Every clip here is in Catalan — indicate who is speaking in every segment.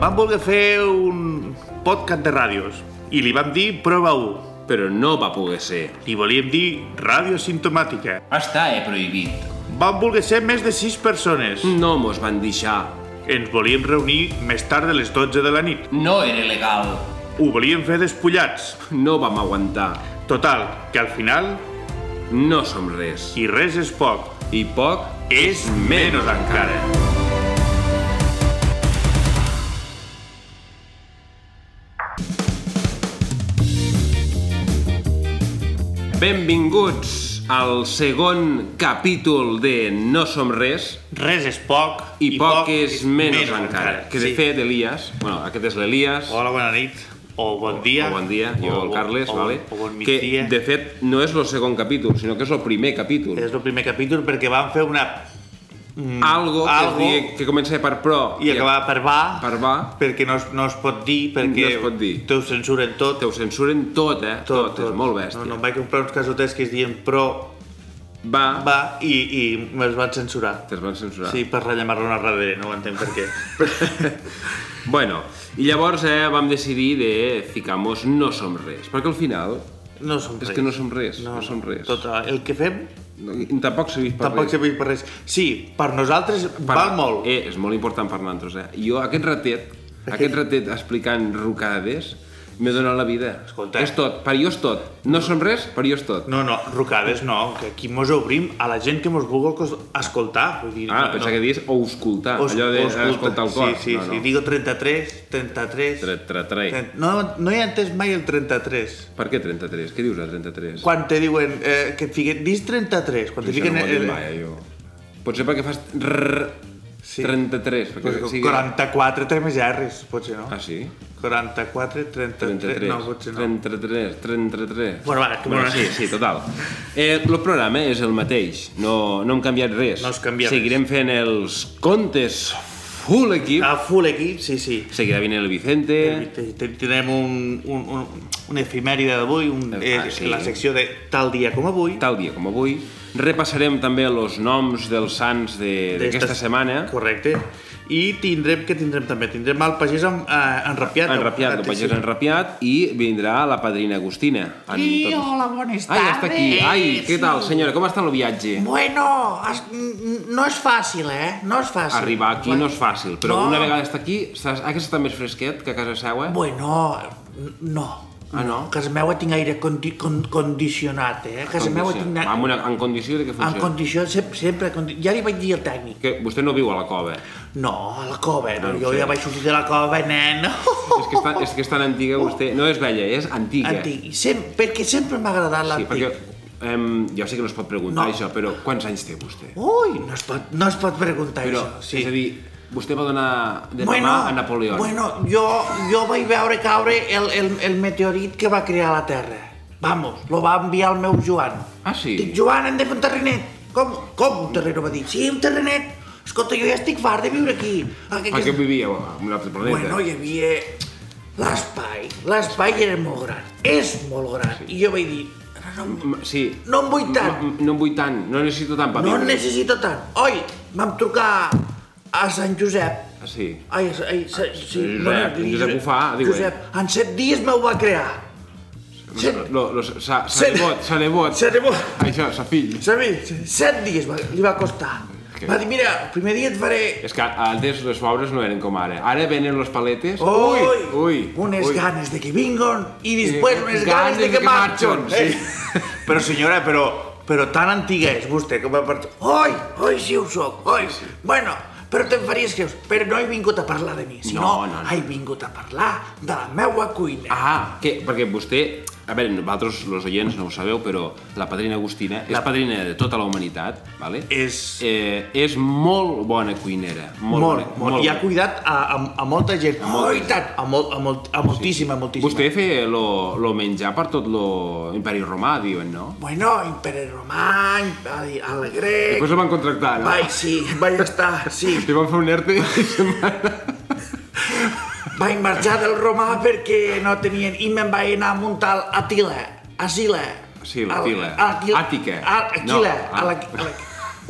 Speaker 1: van voler fer un podcast de ràdios i li vam dir prova 1.
Speaker 2: Però no va poder ser.
Speaker 1: Li volíem dir ràdio sintomàtica.
Speaker 3: Està eh, prohibit.
Speaker 1: Van voler ser més de 6 persones.
Speaker 2: No mos van deixar.
Speaker 1: Ens volíem reunir més tard de les 12 de la nit.
Speaker 3: No era legal.
Speaker 1: Ho volíem fer despullats.
Speaker 2: No vam aguantar.
Speaker 1: Total, que al final,
Speaker 2: No som res.
Speaker 1: qui res és poc,
Speaker 2: I poc
Speaker 1: és menys encara.
Speaker 2: Benvinguts al segon capítol de No som res.
Speaker 1: Res és poc
Speaker 2: I, poc, és menys, encara. Que de fet, Elias... Bueno, aquest és l'Elias.
Speaker 1: Hola, bona nit. O bon dia.
Speaker 2: O bon dia, jo el Carles,
Speaker 1: o,
Speaker 2: vale?
Speaker 1: O bon
Speaker 2: que
Speaker 1: migdia.
Speaker 2: de fet no és el segon capítol, sinó que és el primer capítol.
Speaker 1: És el primer capítol perquè van fer una... mm,
Speaker 2: Algo,
Speaker 1: algo
Speaker 2: que, es digui, que comença per pro
Speaker 1: i acabava per va,
Speaker 2: per va,
Speaker 1: perquè no, es- no es pot dir, perquè
Speaker 2: No es pot dir.
Speaker 1: te ho censuren tot.
Speaker 2: te ho censuren tot, eh? Tot, és molt bèstia.
Speaker 1: No, no, em vaig comprar uns casotets que es diuen pro
Speaker 2: Va, va.
Speaker 1: va i, i me'ls van censurar.
Speaker 2: te'ls van censurar.
Speaker 1: Sí, per rellamar-lo a darrere, no ho entenc per què.
Speaker 2: Bueno, i llavors eh, vam decidir de ficar-nos no som res, perquè al final
Speaker 1: No som
Speaker 2: És
Speaker 1: res.
Speaker 2: que no som res, no som res.
Speaker 1: Tot, eh, el que fem
Speaker 2: no, tampoc serveix per
Speaker 1: tampoc
Speaker 2: res.
Speaker 1: serveix per res. Sí, per nosaltres val molt.
Speaker 2: Eh, és molt important per nosaltres, eh? Jo aquest ratet, aquest ratet explicant rucades, m'he donat la vida.
Speaker 1: Escolta.
Speaker 2: És tot, per jo és tot. No som res, per jo és tot.
Speaker 1: No, no, rucades no, que aquí mos obrim a la gent que mos vulgui cos- escoltar. Vull dir,
Speaker 2: Ah,
Speaker 1: no,
Speaker 2: pensava que dius o auscultar,
Speaker 1: Os-
Speaker 2: allò de
Speaker 1: os culta.
Speaker 2: escoltar el cor.
Speaker 1: Sí, sí,
Speaker 2: no, no.
Speaker 1: sí, digo 33, 33...
Speaker 2: Tre- tre- tre.
Speaker 1: tre- No, no he entès mai el 33.
Speaker 2: Per què 33? Què dius de 33?
Speaker 1: Quan te diuen eh, que et fiquen... Dis 33, quan te
Speaker 2: Això
Speaker 1: fiquen...
Speaker 2: no ho he
Speaker 1: el-
Speaker 2: dit mai, eh? jo. Potser perquè fas rrr,
Speaker 1: Sí.
Speaker 2: 33, perquè
Speaker 1: Pues,
Speaker 2: sigui...
Speaker 1: 44, 3 més R's, potser no?
Speaker 2: Ah, sí?
Speaker 1: 44, 33,
Speaker 2: 33,
Speaker 1: no, potser no.
Speaker 2: 33, 33...
Speaker 1: Bueno, va, que
Speaker 2: bueno,
Speaker 1: m'ho-
Speaker 2: sí, sí, total. Eh, el programa és el mateix, no, no hem canviat res.
Speaker 1: No has canviat
Speaker 2: Seguirem fent els contes full equip.
Speaker 1: A Ah, full equip, sí, sí.
Speaker 2: Seguirà vinent el Vicente.
Speaker 1: Te- te- Tindrem un, un, un, un efimèride d'avui, un,
Speaker 2: Ah,
Speaker 1: eh,
Speaker 2: sí.
Speaker 1: la secció de tal dia com avui.
Speaker 2: tal dia com avui. Repassarem també els noms dels sants de- d'aquesta
Speaker 1: D'aquestes-
Speaker 2: setmana.
Speaker 1: Correcte. I tindrem, que tindrem també? Tindrem el pagès en, eh, enrapiat.
Speaker 2: Enrapiat, el pagès enrapiat, i vindrà la padrina Agustina. En
Speaker 4: Sí,
Speaker 2: tot-
Speaker 4: hola, bones
Speaker 2: Ai,
Speaker 4: tardes.
Speaker 2: està aquí. Ai, què tal, senyora? Com està el viatge?
Speaker 4: Bueno, es- n- no és fàcil, eh? No és fàcil.
Speaker 2: Arribar aquí no és fàcil, però
Speaker 4: No.
Speaker 2: una vegada està aquí, saps, ah, que està més fresquet que a casa seva?
Speaker 4: Bueno, n- no.
Speaker 2: Ah, no?
Speaker 4: A casa meva tinc aire condi con condicionat, eh? A casa meva tinc...
Speaker 2: Condició. Amb una, en condició de que
Speaker 4: En
Speaker 2: funcioni.
Speaker 4: condició, sempre, sempre condi... Ja li vaig dir al tècnic.
Speaker 2: Que vostè no viu a la cova.
Speaker 4: No, a la cova, no,
Speaker 2: Ah, ho
Speaker 4: jo
Speaker 2: sé.
Speaker 4: ja vaig sortir de la cova, nen.
Speaker 2: És que, és tan, és que és tan antiga vostè... No és vella, és antiga.
Speaker 4: Antic. I Sem perquè sempre m'ha agradat
Speaker 2: Sí,
Speaker 4: l'antic.
Speaker 2: perquè... Em, ja sé que no es pot preguntar
Speaker 4: No.
Speaker 2: això, però quants anys té vostè?
Speaker 4: Ui, no es pot, no es pot preguntar
Speaker 2: Però,
Speaker 4: això. Sí.
Speaker 2: és a dir, vostè va donar de mamà a Napoleó.
Speaker 4: Bueno, jo, jo vaig veure caure el, el, el meteorit que va crear la Terra. Vamos, lo va enviar el meu Joan.
Speaker 2: Ah, sí?
Speaker 4: Dic, Joan, hem de fer un terrenet. Com, com un terrenet? Va dir, sí, un terrenet. Escolta, jo ja estic fart de viure aquí. Aquest,
Speaker 2: Per què vivia en un altre planeta?
Speaker 4: Bueno, hi havia l'espai. L'espai era molt gran. És molt gran. I jo vaig dir, no, no,
Speaker 2: M- Sí.
Speaker 4: no em vull tant.
Speaker 2: M- m- No en vull tant, no necessito tant paper.
Speaker 4: No en necessito tant. Oi, vam trucar a Sant Josep.
Speaker 2: Ah, sí. Ah,
Speaker 4: Ai, ai, sa, sí,
Speaker 2: Josep,
Speaker 4: bueno,
Speaker 2: en Josep ho fa, diuen.
Speaker 4: Josep, en set dies m'ho va crear. Set,
Speaker 2: Lo, lo, sa, sa
Speaker 4: Set-
Speaker 2: de bot, sa de bot.
Speaker 4: set,
Speaker 2: Això, sa fill.
Speaker 4: set, set dies va, li va costar.
Speaker 2: Que-
Speaker 4: Va dir, mira, el primer dia et faré...
Speaker 2: És que antes les pobres no eren com ara. Ara venen los paletes.
Speaker 4: Ui,
Speaker 2: ui,
Speaker 4: unes
Speaker 2: ui.
Speaker 4: ganes de que vingon i després
Speaker 2: Eh,
Speaker 4: unes ganes, de que Eh, marxon.
Speaker 2: sí.
Speaker 1: Però senyora, però, però tan antiga és vostè com a part...
Speaker 4: Oi, oi, sí ho soc, oi. Bueno, però te'n faries creus, però no he vingut a parlar de mi, sinó
Speaker 2: No, no, no.
Speaker 4: he vingut a parlar de la meua cuina.
Speaker 2: Ah, que, perquè vostè... A veure, vosaltres, els oients, no ho sabeu, però la padrina Agustina és padrina de tota la humanitat, vale?
Speaker 1: És-
Speaker 2: Eh, és molt bona cuinera. Molt,
Speaker 1: Molt,
Speaker 2: bona,
Speaker 1: molt, molt. I ha
Speaker 2: bona.
Speaker 1: cuidat a, a, a molta gent.
Speaker 4: molta
Speaker 1: Oh, i
Speaker 4: gent.
Speaker 1: tant! A, molt, a, molt, a moltíssima, moltíssima.
Speaker 2: Vostè feia lo, lo menjar per tot lo imperi romà, diuen, no?
Speaker 4: Bueno, imperi romà, imperi alegre...
Speaker 2: Després el van contractar, no?
Speaker 4: Vaig, sí, vaig estar, sí.
Speaker 2: Li van fer un ERTE i se'n va...
Speaker 4: Vaig marxar del romà perquè no tenien... I me'n vaig anar a muntar a Tila, a Sila.
Speaker 2: Sí, la
Speaker 4: Al-
Speaker 2: Tila.
Speaker 4: a la Tila.
Speaker 2: Àtica.
Speaker 4: A, a
Speaker 2: No,
Speaker 4: Quila,
Speaker 2: a-
Speaker 4: a la... A la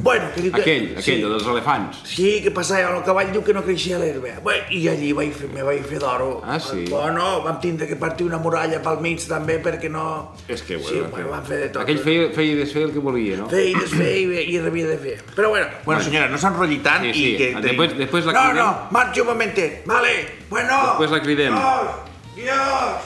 Speaker 4: Bueno, que diu que...
Speaker 2: Aquell, aquell, el dels elefants.
Speaker 4: Sí, que passava el cavall, diu que no creixia l'herba. Bé, I allí vaig fer, me vaig fer d'oro.
Speaker 2: Ah, sí?
Speaker 4: Bueno, vam tindre que partir una muralla pel mig també perquè no...
Speaker 2: És que,
Speaker 4: Sí,
Speaker 2: bueno,
Speaker 4: bueno, vam fer de tot.
Speaker 2: Aquell feia, feia i desfeia el que volia, no?
Speaker 4: Feia i desfeia i, i havia de fer. Però bueno,
Speaker 1: Bueno, Ah, senyora, no s'enrotlli tant
Speaker 2: Sí,
Speaker 1: i
Speaker 2: sí.
Speaker 1: que...
Speaker 2: Després, després la
Speaker 4: no,
Speaker 2: cridem.
Speaker 4: no, marxo un momentet. Vale, bueno.
Speaker 2: Després la cridem.
Speaker 4: Dios, Dios.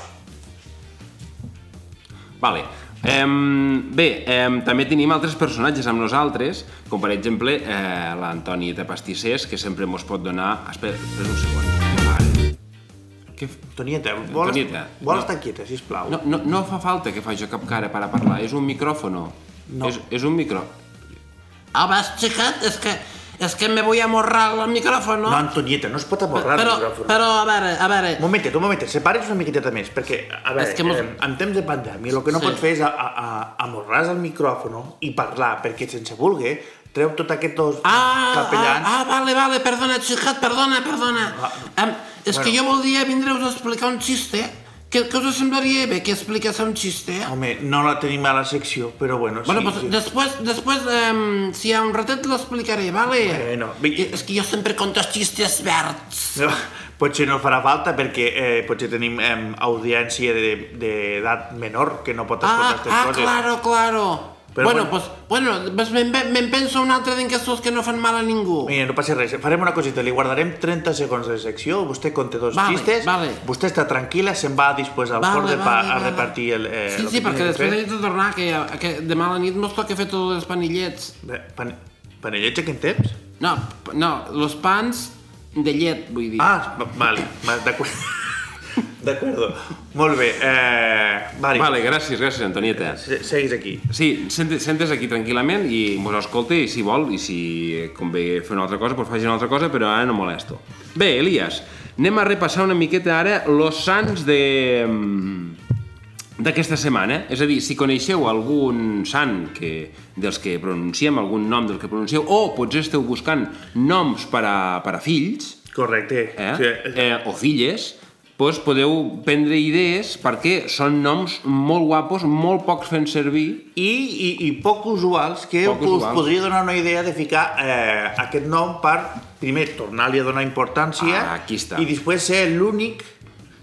Speaker 2: Vale. Em, bé, em, també tenim altres personatges amb nosaltres, com per exemple eh, l'Antonieta Pastissers, que sempre mos pot donar... Espera, espera un segon. Vale. Què f-
Speaker 1: Tonieta, vol,
Speaker 2: Tonieta,
Speaker 1: vol
Speaker 2: no.
Speaker 1: estar quieta, sisplau.
Speaker 2: No, no, no fa falta que faci cap cara per a parlar, és un micròfono. No. És, és un micro... Ah, vas, xicat? És que, és que me vull amorrar el micròfono.
Speaker 1: No, Antonieta, no es pot amorrar el micròfon.
Speaker 2: però, a veure, a veure...
Speaker 1: Un momentet, un momentet, separa't una miqueteta més, perquè, a veure,
Speaker 2: És que mos-
Speaker 1: eh, en temps de pandèmia el que no
Speaker 2: Sí.
Speaker 1: pots fer és a- a- a- amorrar el micròfon i parlar, perquè sense voler treu tot aquests
Speaker 2: Ah,
Speaker 1: capellans. Ah,
Speaker 5: Ah, ah, vale, vale, perdona, xicat, perdona, perdona. Em, és que jo voldria vindre-vos a explicar un xiste. Que, que us semblaria bé que expliqués un xiste?
Speaker 2: ah.
Speaker 1: Home, no la tenim a la secció, però bueno,
Speaker 5: bueno,
Speaker 1: sí,
Speaker 5: pues,
Speaker 1: Ah, sí.
Speaker 5: després, després em, si hi ha un ratet, l'explicaré, vale?
Speaker 1: Bueno, vi-
Speaker 5: És que jo sempre conto xistes verds.
Speaker 1: No, potser no farà falta perquè eh, potser tenim eh, audiència de- d'edat de, menor que no pot escoltar
Speaker 5: Ah,
Speaker 1: aquestes
Speaker 5: ah,
Speaker 1: coses.
Speaker 5: claro, claro.
Speaker 1: Però
Speaker 5: bueno,
Speaker 1: bueno.
Speaker 5: pues, bueno, pues me'n ve- me'n penso un altre d'enquestos que no fan mal a ningú.
Speaker 1: Mira, no passa res, farem una cosita, li guardarem 30 segons de secció, vostè conté dos
Speaker 5: Vale,
Speaker 1: xistes,
Speaker 5: vale.
Speaker 1: vostè està tranquil·la, se'n va després al
Speaker 5: Vale,
Speaker 1: forn de pa
Speaker 5: vale,
Speaker 1: a
Speaker 5: vale.
Speaker 1: repartir el... Eh,
Speaker 5: sí,
Speaker 1: lo
Speaker 5: sí,
Speaker 1: que
Speaker 5: perquè
Speaker 1: tiene que
Speaker 5: després
Speaker 1: fer.
Speaker 5: haig de tornar, que, que demà a la nit mos toca fer tots els panillets.
Speaker 1: Bé, Pan, panellets aquest temps?
Speaker 5: No, p- no, los pans de llet, vull dir.
Speaker 1: Ah, va- vale, va, d'acord. D'acordo. Molt bé, eh, vale.
Speaker 2: Vale, gràcies, gràcies, Antonieta.
Speaker 1: Se- Seguis aquí.
Speaker 2: Sí, sentes, sentes aquí tranquil·lament i mos escolta i si vol i si convé fer una altra cosa, doncs faci una altra cosa, però ara no molesto. Bé, Elias, anem a repassar una miqueta ara los sants de mm, d'aquesta setmana. eh? És a dir, si coneixeu algun sant que, dels que pronunciem, algun nom del que pronuncieu, o potser esteu buscant noms per a, per a fills,
Speaker 1: Correcte.
Speaker 2: eh?
Speaker 1: Sí,
Speaker 2: eh, o filles, doncs podeu prendre idees perquè són noms molt guapos, molt pocs fent servir,
Speaker 1: I, i, i poc usuals que
Speaker 2: Poc
Speaker 1: us
Speaker 2: usuals.
Speaker 1: podria donar una idea de ficar eh, aquest nom per, primer, tornar-li a donar importància
Speaker 2: Ah, aquí està.
Speaker 1: i després ser l'únic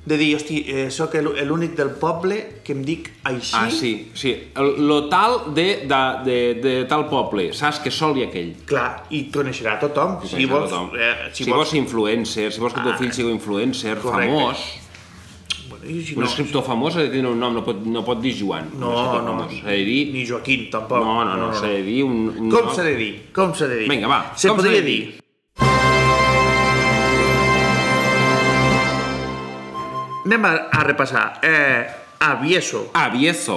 Speaker 1: de dir, hosti, eh, sóc el- l'únic del poble que em dic així.
Speaker 2: Ah, sí, sí. El, lo tal de, de, de, de tal poble. Saps que sol i aquell.
Speaker 1: Clar, i coneixerà tothom. si vols, Eh,
Speaker 2: si, vols ser influencer, si vols que el teu fill sigui influencer,
Speaker 1: Correcte.
Speaker 2: famós,
Speaker 1: Bueno, i si
Speaker 2: un
Speaker 1: no,
Speaker 2: escriptor famós ha de tenir un nom, no pot, no pot dir Joan. un
Speaker 1: No,
Speaker 2: escriptor
Speaker 1: no,
Speaker 2: famós. S'ha de dir...
Speaker 1: ni Joaquim, tampoc.
Speaker 2: No, no, no, s'ha de dir un... un
Speaker 1: Com
Speaker 2: nom-
Speaker 1: s'ha de dir? Com s'ha de dir?
Speaker 2: Vinga, va,
Speaker 1: Se
Speaker 2: com s'ha de
Speaker 1: podria
Speaker 2: dir?
Speaker 1: dir? Anem a, a repassar. Eh, Avieso.
Speaker 2: Ah, Avieso.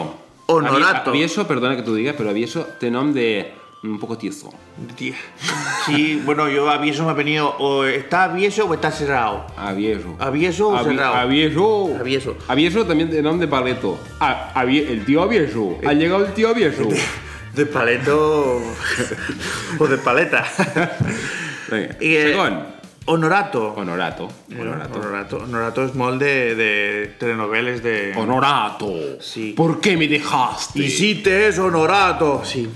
Speaker 1: Honorato.
Speaker 2: Avi- Avieso, perdona que t'ho diga, però Avieso té nom de... Un poco tieso.
Speaker 1: Tía. Sí, bueno, yo Avieso me ha venido. O está Avieso o está cerrado.
Speaker 2: Avieso.
Speaker 1: Avieso o
Speaker 2: Avi-
Speaker 1: cerrado.
Speaker 2: Avieso.
Speaker 1: Avieso.
Speaker 2: Avieso también de nombre de paleto. A- Avie- el tío Avieso.
Speaker 1: Eh.
Speaker 2: Ha llegado el tío Avieso.
Speaker 1: De paleto. o de paleta.
Speaker 2: Venga.
Speaker 1: I, eh,
Speaker 2: Segon.
Speaker 1: Honorato.
Speaker 2: Honorato.
Speaker 1: Honorato.
Speaker 2: Honorato.
Speaker 1: Honorato. Honorato es molde de, de telenovelas de.
Speaker 2: Honorato.
Speaker 1: Sí.
Speaker 2: ¿Por qué me dejaste?
Speaker 1: Y si te es honorato. Sí.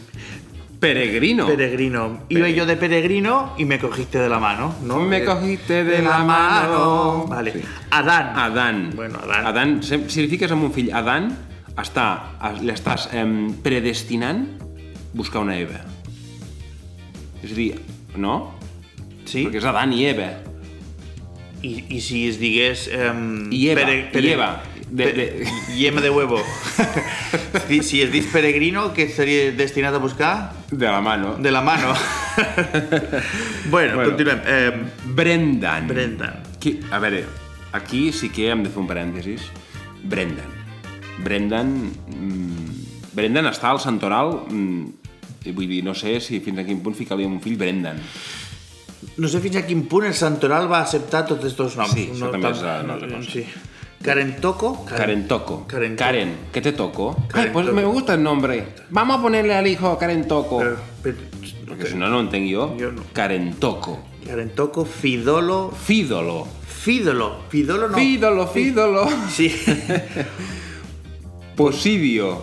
Speaker 2: Peregrino.
Speaker 1: Peregrino. Iba yo de peregrino y me cogiste de la mano, ¿no?
Speaker 2: Me
Speaker 1: Eh,
Speaker 2: cogiste de la mano.
Speaker 1: Vale.
Speaker 2: Sí.
Speaker 1: Adán.
Speaker 2: Adán.
Speaker 1: Bueno, Adán.
Speaker 2: Adán, sem- si li fiques amb un fill Adán, està, l'estàs em, predestinant buscar una Eva. És a dir, no?
Speaker 1: Sí.
Speaker 2: Perquè és Adán i Eva.
Speaker 1: I, i si es digués... Um,
Speaker 2: I Eva, i Eva, de- de-
Speaker 1: Yema de huevo. si, si es dius peregrino, que seria destinat a buscar?
Speaker 2: De la mano.
Speaker 1: De la mano. bueno,
Speaker 2: Bueno.
Speaker 1: continuem. Eh,
Speaker 2: Brendan.
Speaker 1: Brendan.
Speaker 2: Qui, a veure, aquí sí que hem de fer un parèntesis. Brendan. Brendan... Mm, Brendan està al Santoral... Mm, i vull dir, no sé si fins a quin punt ficar-li un fill Brendan.
Speaker 1: No sé fins a quin punt el Santoral va acceptar tots aquests noms.
Speaker 2: Sí, això també és una altra cosa.
Speaker 1: Sí. Carentoco?
Speaker 2: Karen Toco.
Speaker 1: Karen Toco.
Speaker 2: Karen, ¿qué te toco?
Speaker 1: Karen
Speaker 2: Ay, pues
Speaker 1: Toco.
Speaker 2: me gusta el nombre. Vamos a ponerle al hijo Karen Toco.
Speaker 1: Pero- pero-
Speaker 2: Porque si no, no lo entenc jo.
Speaker 1: Jo Eh, no.
Speaker 2: Karen Toco.
Speaker 1: Carentoco, Fidolo...
Speaker 2: Fídolo.
Speaker 1: Fídolo. Fidolo no.
Speaker 2: Fídolo, fídolo.
Speaker 1: Sí.
Speaker 2: Posidio.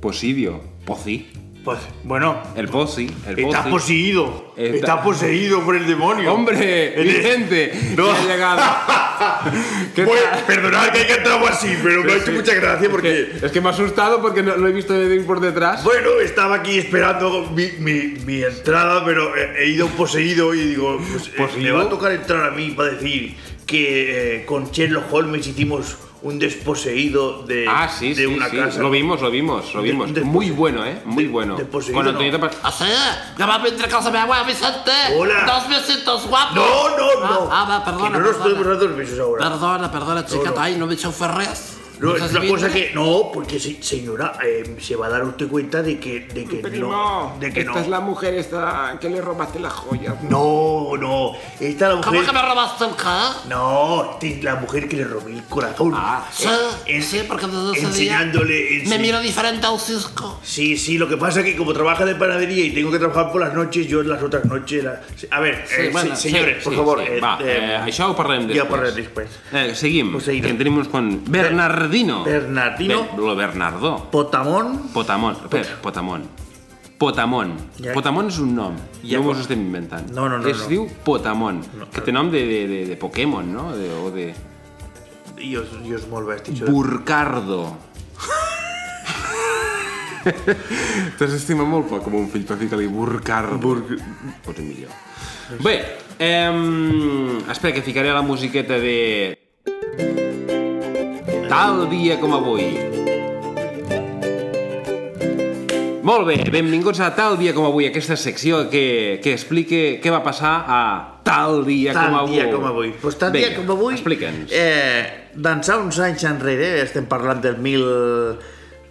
Speaker 2: Posidio. Pocí.
Speaker 1: Pues, bueno,
Speaker 2: El posi. El
Speaker 5: Oh,
Speaker 1: está
Speaker 2: posi.
Speaker 1: poseído.
Speaker 2: Está-
Speaker 1: Está... poseído por el demonio.
Speaker 2: ¡Hombre!
Speaker 1: Eh,
Speaker 2: ¡Vicente!
Speaker 1: no.
Speaker 2: que ha llegado! ¿Qué
Speaker 1: Pues,
Speaker 2: tal?
Speaker 1: perdonad que haya entrado así, pero me ha hecho mucha gracia porque.
Speaker 2: Es que me ha asustado porque no, lo he visto venir por detrás.
Speaker 1: Bueno, estaba aquí esperando mi, mi- mi entrada, pero he he ido poseído y digo, pues, eh, me va a tocar entrar a mí para decir que eh, con Sherlock Holmes hicimos un desposeído de,
Speaker 2: Ah, sí, sí,
Speaker 1: de una
Speaker 2: sí.
Speaker 1: casa.
Speaker 2: Lo vimos, lo vimos, lo
Speaker 1: De-
Speaker 2: vimos.
Speaker 1: de-
Speaker 2: Muy bueno, ¿eh? Muy
Speaker 1: de-
Speaker 2: bueno.
Speaker 1: de poseído,
Speaker 2: Con
Speaker 1: no.
Speaker 2: Antonieta Pa-
Speaker 5: O sea, que va a vindre a casa meva, Vicente.
Speaker 1: Ah, Hola.
Speaker 5: Dos besitos guapos.
Speaker 1: No, no, no.
Speaker 5: Ah, ah, va, perdona,
Speaker 1: Que no nos
Speaker 5: perdona.
Speaker 1: podemos dar dos besos ahora.
Speaker 5: Perdona, perdona, xiquet.
Speaker 1: no.
Speaker 5: Ai, no m'he xaufer res.
Speaker 1: No,
Speaker 5: Has
Speaker 1: es una cosa
Speaker 5: vindre?
Speaker 1: que. No, porque se- señora, eh, se va a dar usted cuenta de que, de que no. De que no. Eh,
Speaker 6: mujer esta que le robaste las joyas.
Speaker 1: No, no. Esta es la
Speaker 5: Com
Speaker 1: mujer.
Speaker 5: que me robaste el què?
Speaker 1: No, esta es la mujer que le robé el corazón.
Speaker 5: Ah, sí,
Speaker 1: Eh,
Speaker 5: sí, porque desde ese día
Speaker 1: Enseñándole.
Speaker 5: Me
Speaker 1: ense-
Speaker 5: miro diferente al Cisco.
Speaker 1: Sí, sí, lo que pasa es que como trabaja de panadería y tengo que trabajar por las noches, yo en las otras noches. la- A ver, eh,
Speaker 5: bueno,
Speaker 1: se- señores,
Speaker 2: Sí,
Speaker 1: por
Speaker 2: sí,
Speaker 1: favor.
Speaker 2: sí.
Speaker 1: eh,
Speaker 2: Va,
Speaker 1: eh,
Speaker 2: eh, això ho parlem després.
Speaker 1: ja ho parlem després.
Speaker 2: Eh, seguim.
Speaker 1: Poseïdor.
Speaker 2: Que en tenim uns quan... Bernardino.
Speaker 1: Bernardino.
Speaker 2: Bé, lo Bernardó.
Speaker 1: Potamón.
Speaker 2: Potamon. Pep, Potamon. Potamon.
Speaker 1: Ja.
Speaker 2: Potamon és un nom. Ja
Speaker 1: Ja.
Speaker 2: no us ho estem inventant.
Speaker 1: No, no, no,
Speaker 2: Es
Speaker 1: no.
Speaker 2: diu Potamon, que té nom de, de, de, de Pokémon, no? De, o de...
Speaker 1: Jo, jo és molt bèstia. això de-
Speaker 2: Burcardo. T'has estimat molt poc com un fill per ficar-li Burcardo. Bur... Pots dir millor. Bé, ehm... espera que ficaré la musiqueta de... Tal dia com avui. Molt bé, benvinguts a Tal dia com avui, aquesta secció que, que explique què va passar a Tal dia
Speaker 1: Tal
Speaker 2: com avui.
Speaker 1: dia com avui. Pues tal dia
Speaker 2: Vinga,
Speaker 1: com avui...
Speaker 2: Explica'ns.
Speaker 1: Eh, d'ençà uns anys enrere, estem parlant del 1000...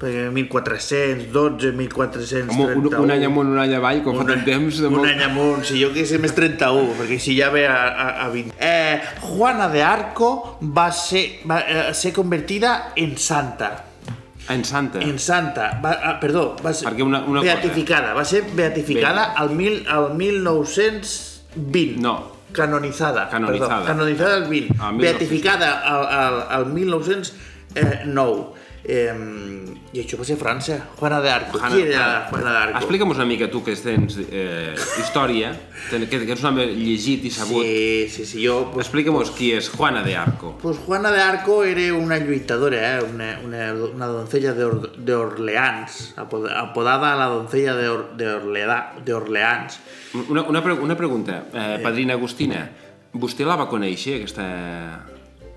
Speaker 1: eh, 1412, 1431...
Speaker 2: Home, un, un any amunt, un any avall, com fa
Speaker 1: Un
Speaker 2: tant
Speaker 1: any-
Speaker 2: temps... de
Speaker 1: un
Speaker 2: molt-
Speaker 1: any amunt, si jo que sé més 31, perquè si ja ve a, a, a 20. Eh, Juana de Arco va ser, va eh, ser convertida en santa.
Speaker 2: En Santa.
Speaker 1: En santa. Va, ah, perdó, va ser
Speaker 2: Perquè una- una cosa.
Speaker 1: beatificada. Va ser beatificada al, mil, al 1920.
Speaker 2: No.
Speaker 1: Canonitzada.
Speaker 2: Canonitzada.
Speaker 1: Perdó, canonitzada al 20.
Speaker 2: Al 1900.
Speaker 1: beatificada al, al, al 1909. Eh, I això va ser a França. Juana d'Arco.
Speaker 2: Juana-
Speaker 1: Qui era Juana d'Arco?
Speaker 2: Explica'm una mica tu que tens eh, història, ten- que, que ets un home llegit i sabut. Sí.
Speaker 1: Sí, sí, sí, jo... Pues,
Speaker 2: Explica'm-nos qui és Juana de Arco.
Speaker 1: Pues Juana de Arco era una lluitadora, eh? una, una, una doncella de, Or- de Orleans, apod- apodada la doncella de, Or- de, Orleda- de Orleans.
Speaker 2: Una, una, pre una pregunta, eh, padrina Agustina, vostè la va conèixer, aquesta,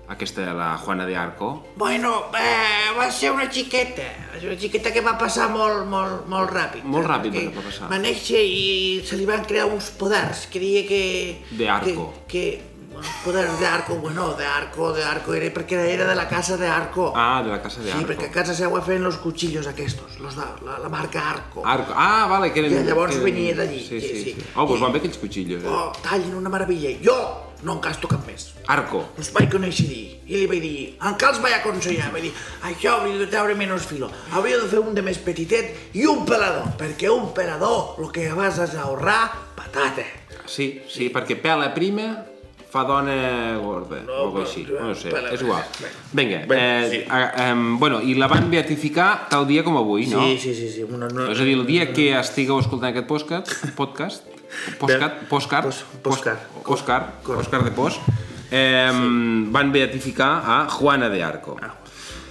Speaker 2: aquesta la Juana de Arco?
Speaker 4: Bueno, eh, va ser una xiqueta, va ser una xiqueta que va passar molt, molt, molt ràpid.
Speaker 2: Molt ràpid
Speaker 4: Perquè
Speaker 2: va passar.
Speaker 4: Va néixer i se li van crear uns poders, que deia que...
Speaker 2: De arco.
Speaker 4: Que, que bueno, poders d'arco, bueno, d'arco, d'arco, era perquè era de la casa d'arco.
Speaker 2: Ah, de la casa de
Speaker 4: sí,
Speaker 2: Arco.
Speaker 4: perquè a casa seva feien los cuchillos aquestos, los de, la, la marca arco.
Speaker 2: Arco. Ah, vale, que eren...
Speaker 4: Ja, llavors
Speaker 2: que eren-
Speaker 4: venia d'allí,
Speaker 2: Sí, sí,
Speaker 4: sí,
Speaker 2: sí.
Speaker 4: sí.
Speaker 2: Oh, doncs van bé aquells cuchillos. Eh?
Speaker 4: Oh, tallin una meravella. Jo no en gasto cap més.
Speaker 2: Arco.
Speaker 4: Us Pues vaig conèixer dir, i li vaig dir, en què els vaig aconsellar? Vaig dir, això hauria de treure menys filo, hauria de fer un de més petitet i un pelador, perquè un pelador el que vas és ahorrar patata.
Speaker 2: Sí, sí, perquè pela prima fa dona gorda, no, o alguna cosa així,
Speaker 4: però-
Speaker 2: no ho sé,
Speaker 4: pela-
Speaker 2: és igual. Vinga,
Speaker 1: Bé,
Speaker 2: eh,
Speaker 1: sí.
Speaker 2: a, em, bueno, i la van beatificar tal dia com avui, no?
Speaker 1: Sí, sí, sí, sí. Una, no,
Speaker 2: És a dir, el dia que estigueu escoltant aquest podcast, podcast, podcast, postcard,
Speaker 1: Pos- postcard.
Speaker 2: post- Òscar, Òscar de Pos, eh, van beatificar a Juana de Arco.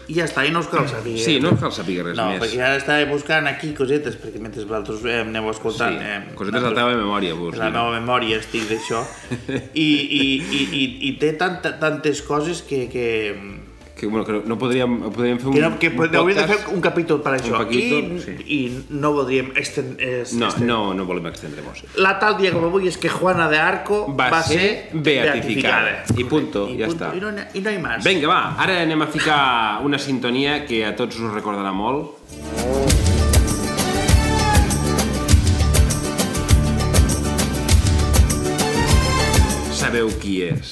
Speaker 1: I ja està, i no us cal saber. eh?
Speaker 2: Sí, no cal saber res
Speaker 1: Ah. No,
Speaker 2: més.
Speaker 1: perquè ara estava buscant aquí cosetes, perquè mentre vosaltres eh, aneu escoltant...
Speaker 2: Sí,
Speaker 1: eh,
Speaker 2: cosetes de la teva memòria, vols
Speaker 1: la
Speaker 2: dir.
Speaker 1: meva memòria estic d'això. I, i, i, i, I té tanta, tantes coses que... que
Speaker 2: Que, bueno, que no podríem, podríem fer un,
Speaker 1: que, no, que
Speaker 2: un
Speaker 1: hauríem de fer
Speaker 2: podcast-
Speaker 1: un capítol per això.
Speaker 2: capítol,
Speaker 1: I,
Speaker 2: sí.
Speaker 1: I no voldríem... Esten, es,
Speaker 2: No,
Speaker 1: esten-
Speaker 2: no, no volem extendre-nos.
Speaker 1: La tal dia com avui és que Juana de Arco
Speaker 2: Va
Speaker 1: va,
Speaker 2: ser beatificada. I
Speaker 1: Correcte.
Speaker 2: punto, ja està.
Speaker 1: I no, n'hi ha- I no hi ha més.
Speaker 2: Vinga, va, ara anem a ficar una sintonia que a tots us recordarà molt. Sabeu qui és?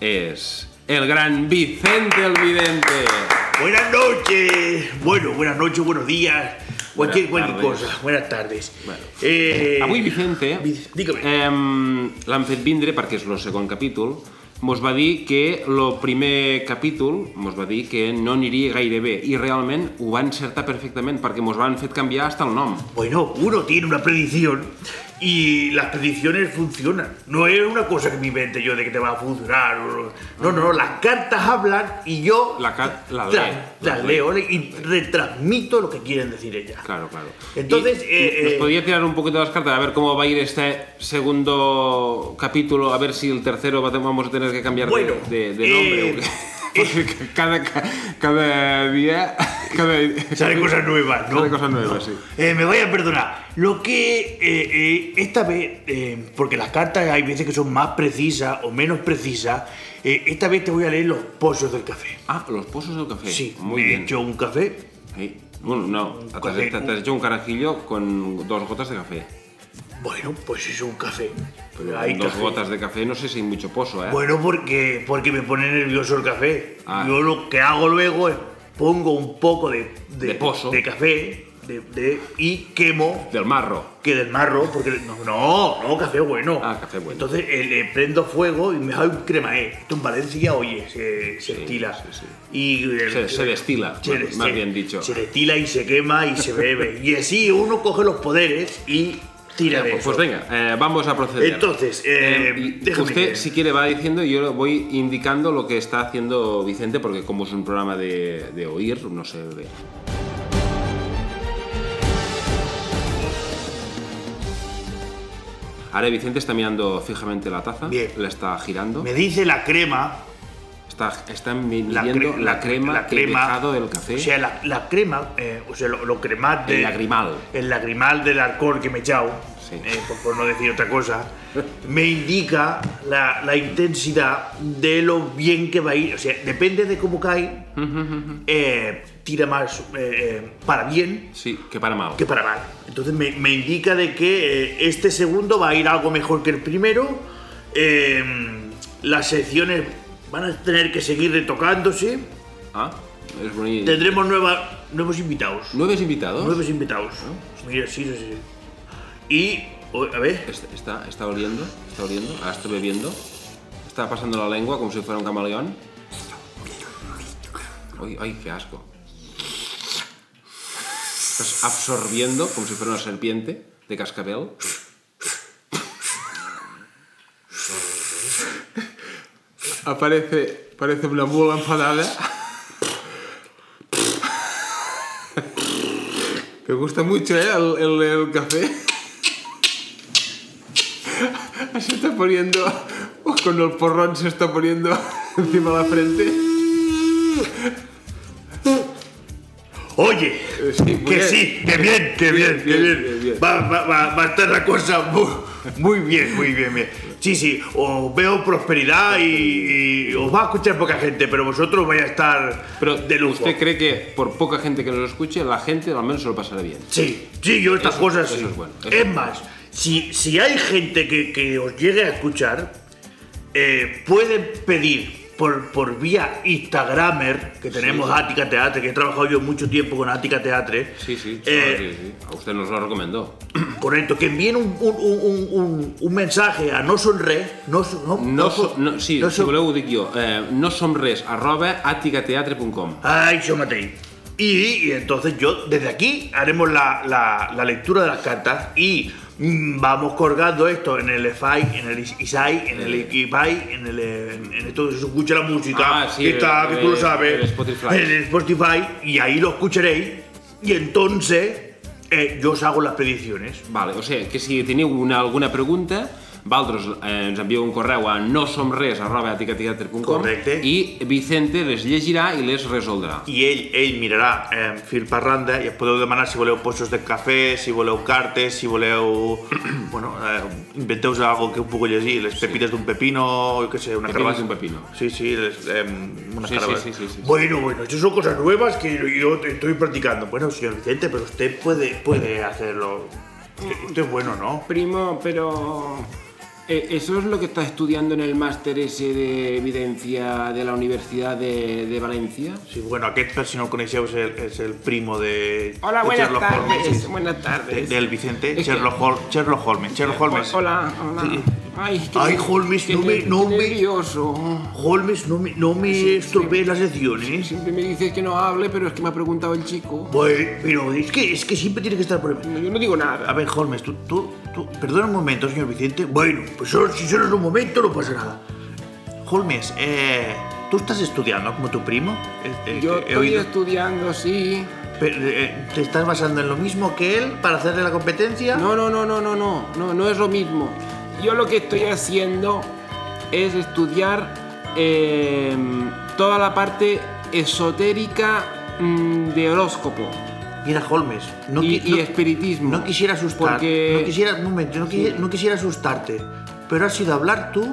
Speaker 2: És el gran Vicente el Vidente.
Speaker 1: Buenas noches. Bueno, buenas noches, buenos días. Cualquier,
Speaker 2: Buenas
Speaker 1: cualquier
Speaker 2: tardes.
Speaker 1: cosa. Buenas tardes.
Speaker 2: Bueno.
Speaker 1: Eh,
Speaker 2: Avui Vicente
Speaker 1: Vic- Dígame.
Speaker 2: eh, l'han fet vindre, perquè és el segon capítol, mos va dir que el primer capítol mos va dir que no aniria gaire bé i realment ho va encertar perfectament perquè mos van fet canviar hasta el nom.
Speaker 1: Bueno, uno tiene una predicción y las predicciones funcionan. No es una cosa que me invente yo de que te va a funcionar. o no. No, no, no, las cartas hablan y yo
Speaker 2: La cat- la
Speaker 1: tra-
Speaker 2: lee, la
Speaker 1: las
Speaker 2: lee.
Speaker 1: leo y retransmito lo que quieren decir ellas.
Speaker 2: Claro, claro.
Speaker 1: Entonces,
Speaker 2: Y
Speaker 1: eh,
Speaker 2: nos
Speaker 1: eh,
Speaker 2: podía tirar un poquito las cartas a ver cómo va a ir este segundo capítulo, a ver si el tercero va a- vamos a tener que cambiar de-
Speaker 1: Bueno,
Speaker 2: de, de nombre.
Speaker 1: eh,
Speaker 2: Porque cada, cada día. Cada,
Speaker 1: Salen cosas nuevas, ¿no?
Speaker 2: Salen cosas nuevas, sí.
Speaker 1: Eh, me vayan a perdonar. Lo que eh, eh, esta vez, eh, porque las cartas hay veces que son más precisas o menos precisas, eh, esta vez te voy a leer los pozos del café.
Speaker 2: Ah, los pozos del café.
Speaker 1: Sí,
Speaker 2: muy
Speaker 1: me
Speaker 2: bien.
Speaker 1: he hecho un café.
Speaker 2: Sí. Bueno, no, te has,
Speaker 1: café,
Speaker 2: te-
Speaker 1: un-
Speaker 2: te has hecho un carajillo con dos gotas de café.
Speaker 1: Bueno, pues es un café.
Speaker 2: Pero
Speaker 1: Hay
Speaker 2: con dos
Speaker 1: café.
Speaker 2: gotas de café no sé si hay mucho pozo, ¿eh?
Speaker 1: Bueno, porque, porque me pone nervioso el café.
Speaker 2: Ah.
Speaker 1: Yo lo que hago luego es pongo un poco de,
Speaker 2: De pozo.
Speaker 1: de café de- de- y quemo
Speaker 2: Del marro.
Speaker 1: que del marro, porque no, no, no, café bueno.
Speaker 2: Ah, café bueno.
Speaker 1: Entonces eh, le prendo fuego y me hago un cremaé. Esto en Valencia, oye, se, se estila.
Speaker 2: sí, sí.
Speaker 1: Y, eh,
Speaker 2: Se- se destila, más-
Speaker 1: de-
Speaker 2: más bien dicho.
Speaker 1: Se destila y se quema y se bebe. y así uno coge los poderes y tira de
Speaker 2: Pues,
Speaker 1: eso.
Speaker 2: pues venga, eh, vamos a proceder.
Speaker 1: Entonces, eh,
Speaker 2: Y
Speaker 1: déjame
Speaker 2: usted,
Speaker 1: que-
Speaker 2: si quiere, va diciendo y yo le voy indicando lo que está haciendo Vicente, porque como es un programa de, de oír, no sé. de- Ahora Vicente está mirando fijamente la taza,
Speaker 1: Bien.
Speaker 2: la está girando,
Speaker 1: Me dice la crema.
Speaker 2: está, está
Speaker 1: La, cre-
Speaker 2: midiendo la,
Speaker 1: la-
Speaker 2: crema,
Speaker 1: la
Speaker 2: el
Speaker 1: crema,
Speaker 2: dejado del café.
Speaker 1: O sea, la, la crema, eh, o sea, lo, lo cremat de.
Speaker 2: El lagrimal.
Speaker 1: El lagrimal del alcohol que me he echado,
Speaker 2: Sí.
Speaker 1: eh, por, por no decir otra cosa, me indica la, la intensidad de lo bien que va a ir. O sea, depende de cómo cae, eh, tira más eh, eh, para bien
Speaker 2: Sí, que para mal.
Speaker 1: que para mal. Entonces me, me indica de que eh, este segundo va a ir algo mejor que el primero. eh, las secciones van a tener que seguir retocándose.
Speaker 2: Ah, es bonito.
Speaker 1: Tendremos nueva- nuevos invitados.
Speaker 2: ¿Nueves invitados?
Speaker 1: Nuevos invitados. Mira, sí, sí, sí. Y, o- a ver,
Speaker 2: Est- Está, está oliendo, está oliendo, ahora está bebiendo. Está pasando la lengua como si fuera un camaleón. Uy, ay, qué asco. Estás absorbiendo como si fuera una serpiente de cascabel. Aparece, parece una mula enfadada. Me gusta mucho, ¿eh? El, el- el café. Se está poniendo. Con el porrón se está poniendo encima de la frente.
Speaker 1: oye,
Speaker 2: Eh, sí, muy
Speaker 1: que
Speaker 2: bien.
Speaker 1: sí, que bien, que bien,
Speaker 2: bien,
Speaker 1: que bien.
Speaker 2: bien, bien.
Speaker 1: Va, va- va- va a estar la cosa muy, muy bien, muy bien, bien. Sí, sí, os veo prosperidad y, y os va a escuchar poca gente, pero vosotros vais a estar
Speaker 2: Pero
Speaker 1: de lujo.
Speaker 2: ¿Usted cree que por poca gente que nos escuche, la gente al menos se lo pasará bien?
Speaker 1: Sí, sí, yo estas
Speaker 2: Eso-
Speaker 1: cosas
Speaker 2: eso
Speaker 1: sí.
Speaker 2: es bueno, eso
Speaker 1: es
Speaker 2: es
Speaker 1: más, si, si hay gente que, que os llegue a escuchar, eh, pueden pedir por, por vía Instagramer, que tenemos Ática Teatre, que he trabajado yo mucho tiempo con Ática Teatre.
Speaker 2: Sí, sí,
Speaker 1: eh,
Speaker 2: sí, sí. A usted nos lo recomendó.
Speaker 1: Correcto, que envíen un, un, un, un, un mensaje a no sonre, no, so- no,
Speaker 2: No, so-
Speaker 1: so-
Speaker 2: no, sí,
Speaker 1: no
Speaker 2: si
Speaker 1: so-
Speaker 2: voleu ho dic jo. Eh, no som res, arroba atigateatre.com.
Speaker 1: Ay, yo maté. Y, y entonces yo, desde aquí, haremos la, la- la lectura de las cartas y mm, vamos colgando esto en el EFI, en el Is- ISAI, en el Equipay, en el. eh, En, en esto se escucha la música,
Speaker 2: Ah, sí,
Speaker 1: que está,
Speaker 2: el-
Speaker 1: que tú lo
Speaker 2: el-
Speaker 1: sabes.
Speaker 2: el Spotify.
Speaker 1: En el Spotify, y ahí lo escucharéis. Y entonces, eh, yo os hago las predicciones.
Speaker 2: Vale, o sigui, que si teniu una, alguna pregunta, vosaltres eh, ens envieu un correu a nosomres.com
Speaker 1: Correcte.
Speaker 2: i Vicente les llegirà i les resoldrà.
Speaker 1: i ell, ell mirarà eh, fil per randa i us podeu demanar si voleu possos de cafè, si voleu cartes, si voleu... bueno, eh, inventeu-vos algo que puc llegir, les pepites d'un pepino, o què sé, una
Speaker 2: Pepitas
Speaker 1: carabassa.
Speaker 2: d'un pepino.
Speaker 1: Sí, sí, les, eh, una
Speaker 2: Sí, sí,
Speaker 1: carabassa.
Speaker 2: sí, sí, sí, sí.
Speaker 1: Bueno, bueno, eso son cosas nuevas que yo estoy practicando. Bueno, señor Vicente, pero usted puede, puede hacerlo.
Speaker 2: Mm.
Speaker 1: Esto es bueno, ¿no?
Speaker 6: Primo, pero... eh, Eso es lo que está estudiando en el máster ese de evidencia de la Universidad de, de Valencia.
Speaker 1: Sí, bueno, aquest, per si no el coneixeu, és el, és el primo de,
Speaker 6: Hola,
Speaker 1: de
Speaker 6: buenas
Speaker 1: Sherlock
Speaker 6: tardes.
Speaker 1: Holmes.
Speaker 6: Buenas tardes.
Speaker 1: De- del Vicente,
Speaker 6: Es que-
Speaker 1: Sherlock, Hol- Sherlock Holmes. Sherlock Holmes.
Speaker 6: Hola, hola.
Speaker 2: Ay, qué,
Speaker 1: Pues, Ay, Holmes,
Speaker 2: qué
Speaker 1: no me-
Speaker 2: ne-
Speaker 1: no
Speaker 2: qué
Speaker 1: me-
Speaker 2: nervioso.
Speaker 1: Holmes, no me, no me estropees las lecciones.
Speaker 2: Siempre me dices que no hable, pero es que me ha preguntado el chico.
Speaker 1: Pues, pero es que, es que siempre tiene que estar por el-
Speaker 2: No, Yo no digo nada.
Speaker 1: A ver, Holmes, tú, tú, tú, perdona un momento, señor Vicente. Bueno, pues solo- si solo es un momento no pasa nada. Holmes, eh, tú estás estudiando como tu primo. Eh, eh,
Speaker 2: Yo
Speaker 1: he
Speaker 2: estoy
Speaker 1: oído-
Speaker 2: estudiando, sí.
Speaker 1: Pero, eh, ¿Te estás basando en lo mismo que él para hacerle la competencia?
Speaker 2: No, no, no, no, no, no, no, no es lo mismo. Yo lo que estoy haciendo es estudiar eh, toda la parte esotérica mm, de horóscopo
Speaker 1: Mira, Holmes, no,
Speaker 2: y,
Speaker 1: qui-
Speaker 2: y
Speaker 1: no-
Speaker 2: espiritismo.
Speaker 1: no quisiera asustarte.
Speaker 2: Porque...
Speaker 1: No quisiera, un momento, no, quisi- no quisiera asustarte. Pero has ido a hablar tú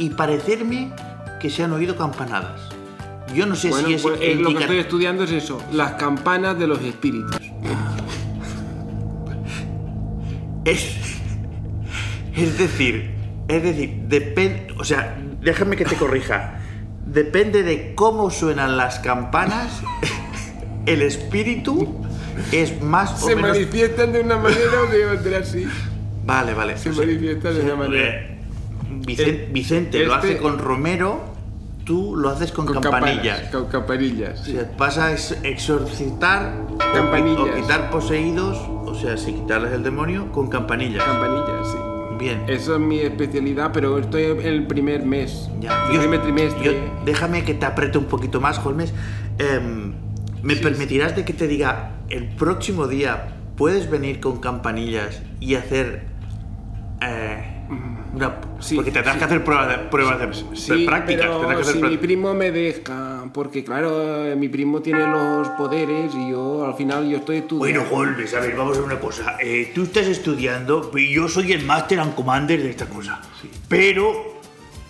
Speaker 1: y parecerme que se han oído campanadas. Yo no sé
Speaker 2: Bueno,
Speaker 1: si es,
Speaker 2: pues, eh, lo que
Speaker 1: indica-
Speaker 2: estoy estudiando es eso, las campanas de los espíritus.
Speaker 1: Es, es decir, es decir, depende, o sea, déjame que te corrija. Depende de cómo suenan las campanas, el espíritu es más o
Speaker 2: Se
Speaker 1: menos.
Speaker 2: manifiestan de una manera o de otra, sí.
Speaker 1: Vale, vale.
Speaker 2: Se
Speaker 1: o sea,
Speaker 2: manifiestan de una manera.
Speaker 1: eh, Vicen-
Speaker 2: Eh,
Speaker 1: Vicente lo hace
Speaker 2: este-
Speaker 1: con Romero, tú lo haces con, campanillas.
Speaker 2: campanas, Con campanillas.
Speaker 1: O
Speaker 2: sí.
Speaker 1: sea, vas a ex- exorcitar o qui-
Speaker 2: Campanillas.
Speaker 1: o quitar poseídos, o sea, si quitarles el demonio, con campanillas.
Speaker 2: Campanillas, sí.
Speaker 1: Bien.
Speaker 2: Eso es mi especialidad, pero estoy en el primer mes.
Speaker 1: Ya.
Speaker 2: El primer trimestre.
Speaker 1: yo- déjame que te apriete un poquito más, Holmes. Em, ¿Me permitirás de que te diga el próximo día puedes venir con campanillas y hacer eh, una-
Speaker 2: Sí,
Speaker 1: porque tendrás
Speaker 2: sí.
Speaker 1: que hacer pruebas de, pruebas de-
Speaker 2: Sí,
Speaker 1: de prácticas.
Speaker 2: pero
Speaker 1: tendrás que hacer
Speaker 2: si mi
Speaker 1: prácticas.
Speaker 2: primo me deja, porque claro, eh, mi primo tiene los poderes y yo al final yo estoy
Speaker 1: Bueno,
Speaker 2: estudiando.
Speaker 1: Holmes, a ver, vamos a ver una cosa. Eh, tú estás estudiando y yo soy el Master and Commander de esta cosa. Pero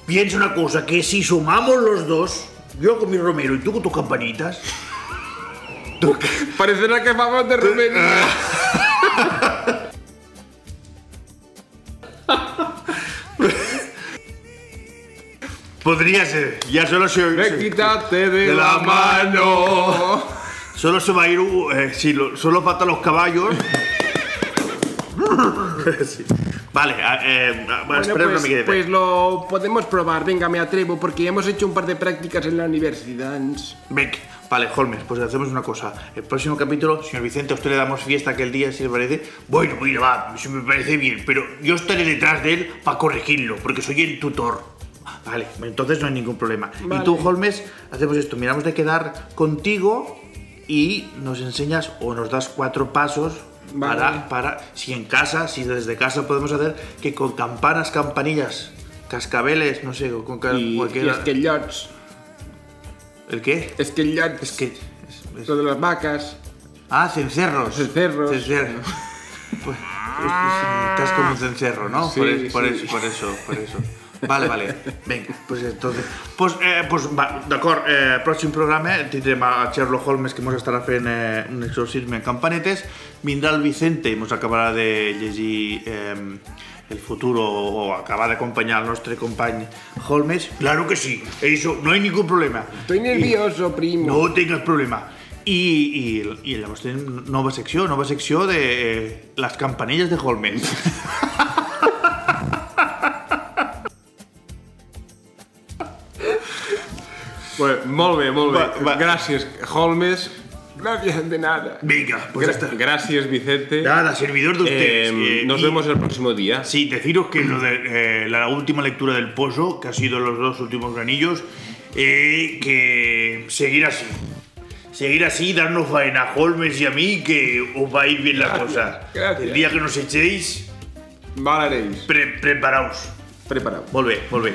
Speaker 1: piensa una cosa, que si sumamos los dos, yo con mi Romero y tú con tus campanitas,
Speaker 2: Parecerá que vamos de
Speaker 1: Ah,
Speaker 2: romería.
Speaker 1: Podría ser. Ya solo se
Speaker 2: Me
Speaker 1: se-
Speaker 2: quitaste de,
Speaker 1: de la
Speaker 2: mano.
Speaker 1: Solo se va a ir. uh, eh, sí, lo- solo faltan los caballos. Sí. Vale, a- eh, a- espera
Speaker 2: Bueno,
Speaker 1: que me quede.
Speaker 2: pues, pues lo podemos probar. Venga, me atrevo, porque hemos hecho un par de prácticas en la universidad.
Speaker 1: Venga, Vale, Holmes, pues hacemos una cosa. El próximo capítulo, señor Vicente, a usted le damos fiesta aquel día, si le parece. Bueno, mira, va, si me parece bien, pero yo estaré detrás de él para corregirlo, porque soy el tutor. Vale, entonces no hay ningún problema. Y tú, Holmes, hacemos esto. Miramos de quedar contigo y nos enseñas o nos das cuatro pasos
Speaker 2: Vale.
Speaker 1: para, para, si en casa, si desde casa podemos hacer, que con campanas, campanillas, cascabeles, no sé, o con ca-
Speaker 2: Y, y
Speaker 1: cualquiera...
Speaker 2: esquellots.
Speaker 1: ¿El qué?
Speaker 2: Esquellots.
Speaker 1: Es que... es-
Speaker 2: Lo de las vacas.
Speaker 1: Ah, cencerros.
Speaker 2: Cencerros.
Speaker 1: Cencerros. Pues, es- es- estás como un cencerro, ¿no?
Speaker 2: Sí,
Speaker 1: por, es- por
Speaker 2: sí.
Speaker 1: eso, por eso, por eso. Vale, vale. Venga, pues entonces... Pues, eh, pues va, d'acord, eh, pròxim programa eh, tindrem a Sherlock Holmes que mos estarà fent eh, un exorcisme en campanetes, vindrà el Vicente i mos acabarà de llegir eh, el futuro o acabar d'acompanyar el nostre company Holmes. Claro que sí, eso, no hay ningún problema.
Speaker 2: Estoy
Speaker 1: I-
Speaker 2: nervioso, primo.
Speaker 1: no tingues problema. I, i, i llavors tenim nova secció, nova secció de eh, les campanelles de Holmes. pues,
Speaker 2: Bueno, molt bé, molt bé.
Speaker 1: Va, va.
Speaker 2: Gràcies, Holmes. Gràcies de nada.
Speaker 1: Vinga, pues ya
Speaker 2: Gra-
Speaker 1: está.
Speaker 2: Gracias, Vicente.
Speaker 1: Nada, servidor de ustedes.
Speaker 7: Eh,
Speaker 1: Eh,
Speaker 7: nos
Speaker 1: y-
Speaker 7: vemos el próximo día.
Speaker 1: Sí, deciros que lo de, eh, la última lectura del Pozo, que ha sido los dos últimos granillos, eh, que seguir así. Seguir así, darnos faena a Holmes y a mí, que os va a ir bien la cosa.
Speaker 2: gracias.
Speaker 1: El día que nos echéis,
Speaker 2: Valareis.
Speaker 1: pre- preparaos.
Speaker 2: Prepareu.
Speaker 1: Volve, volve.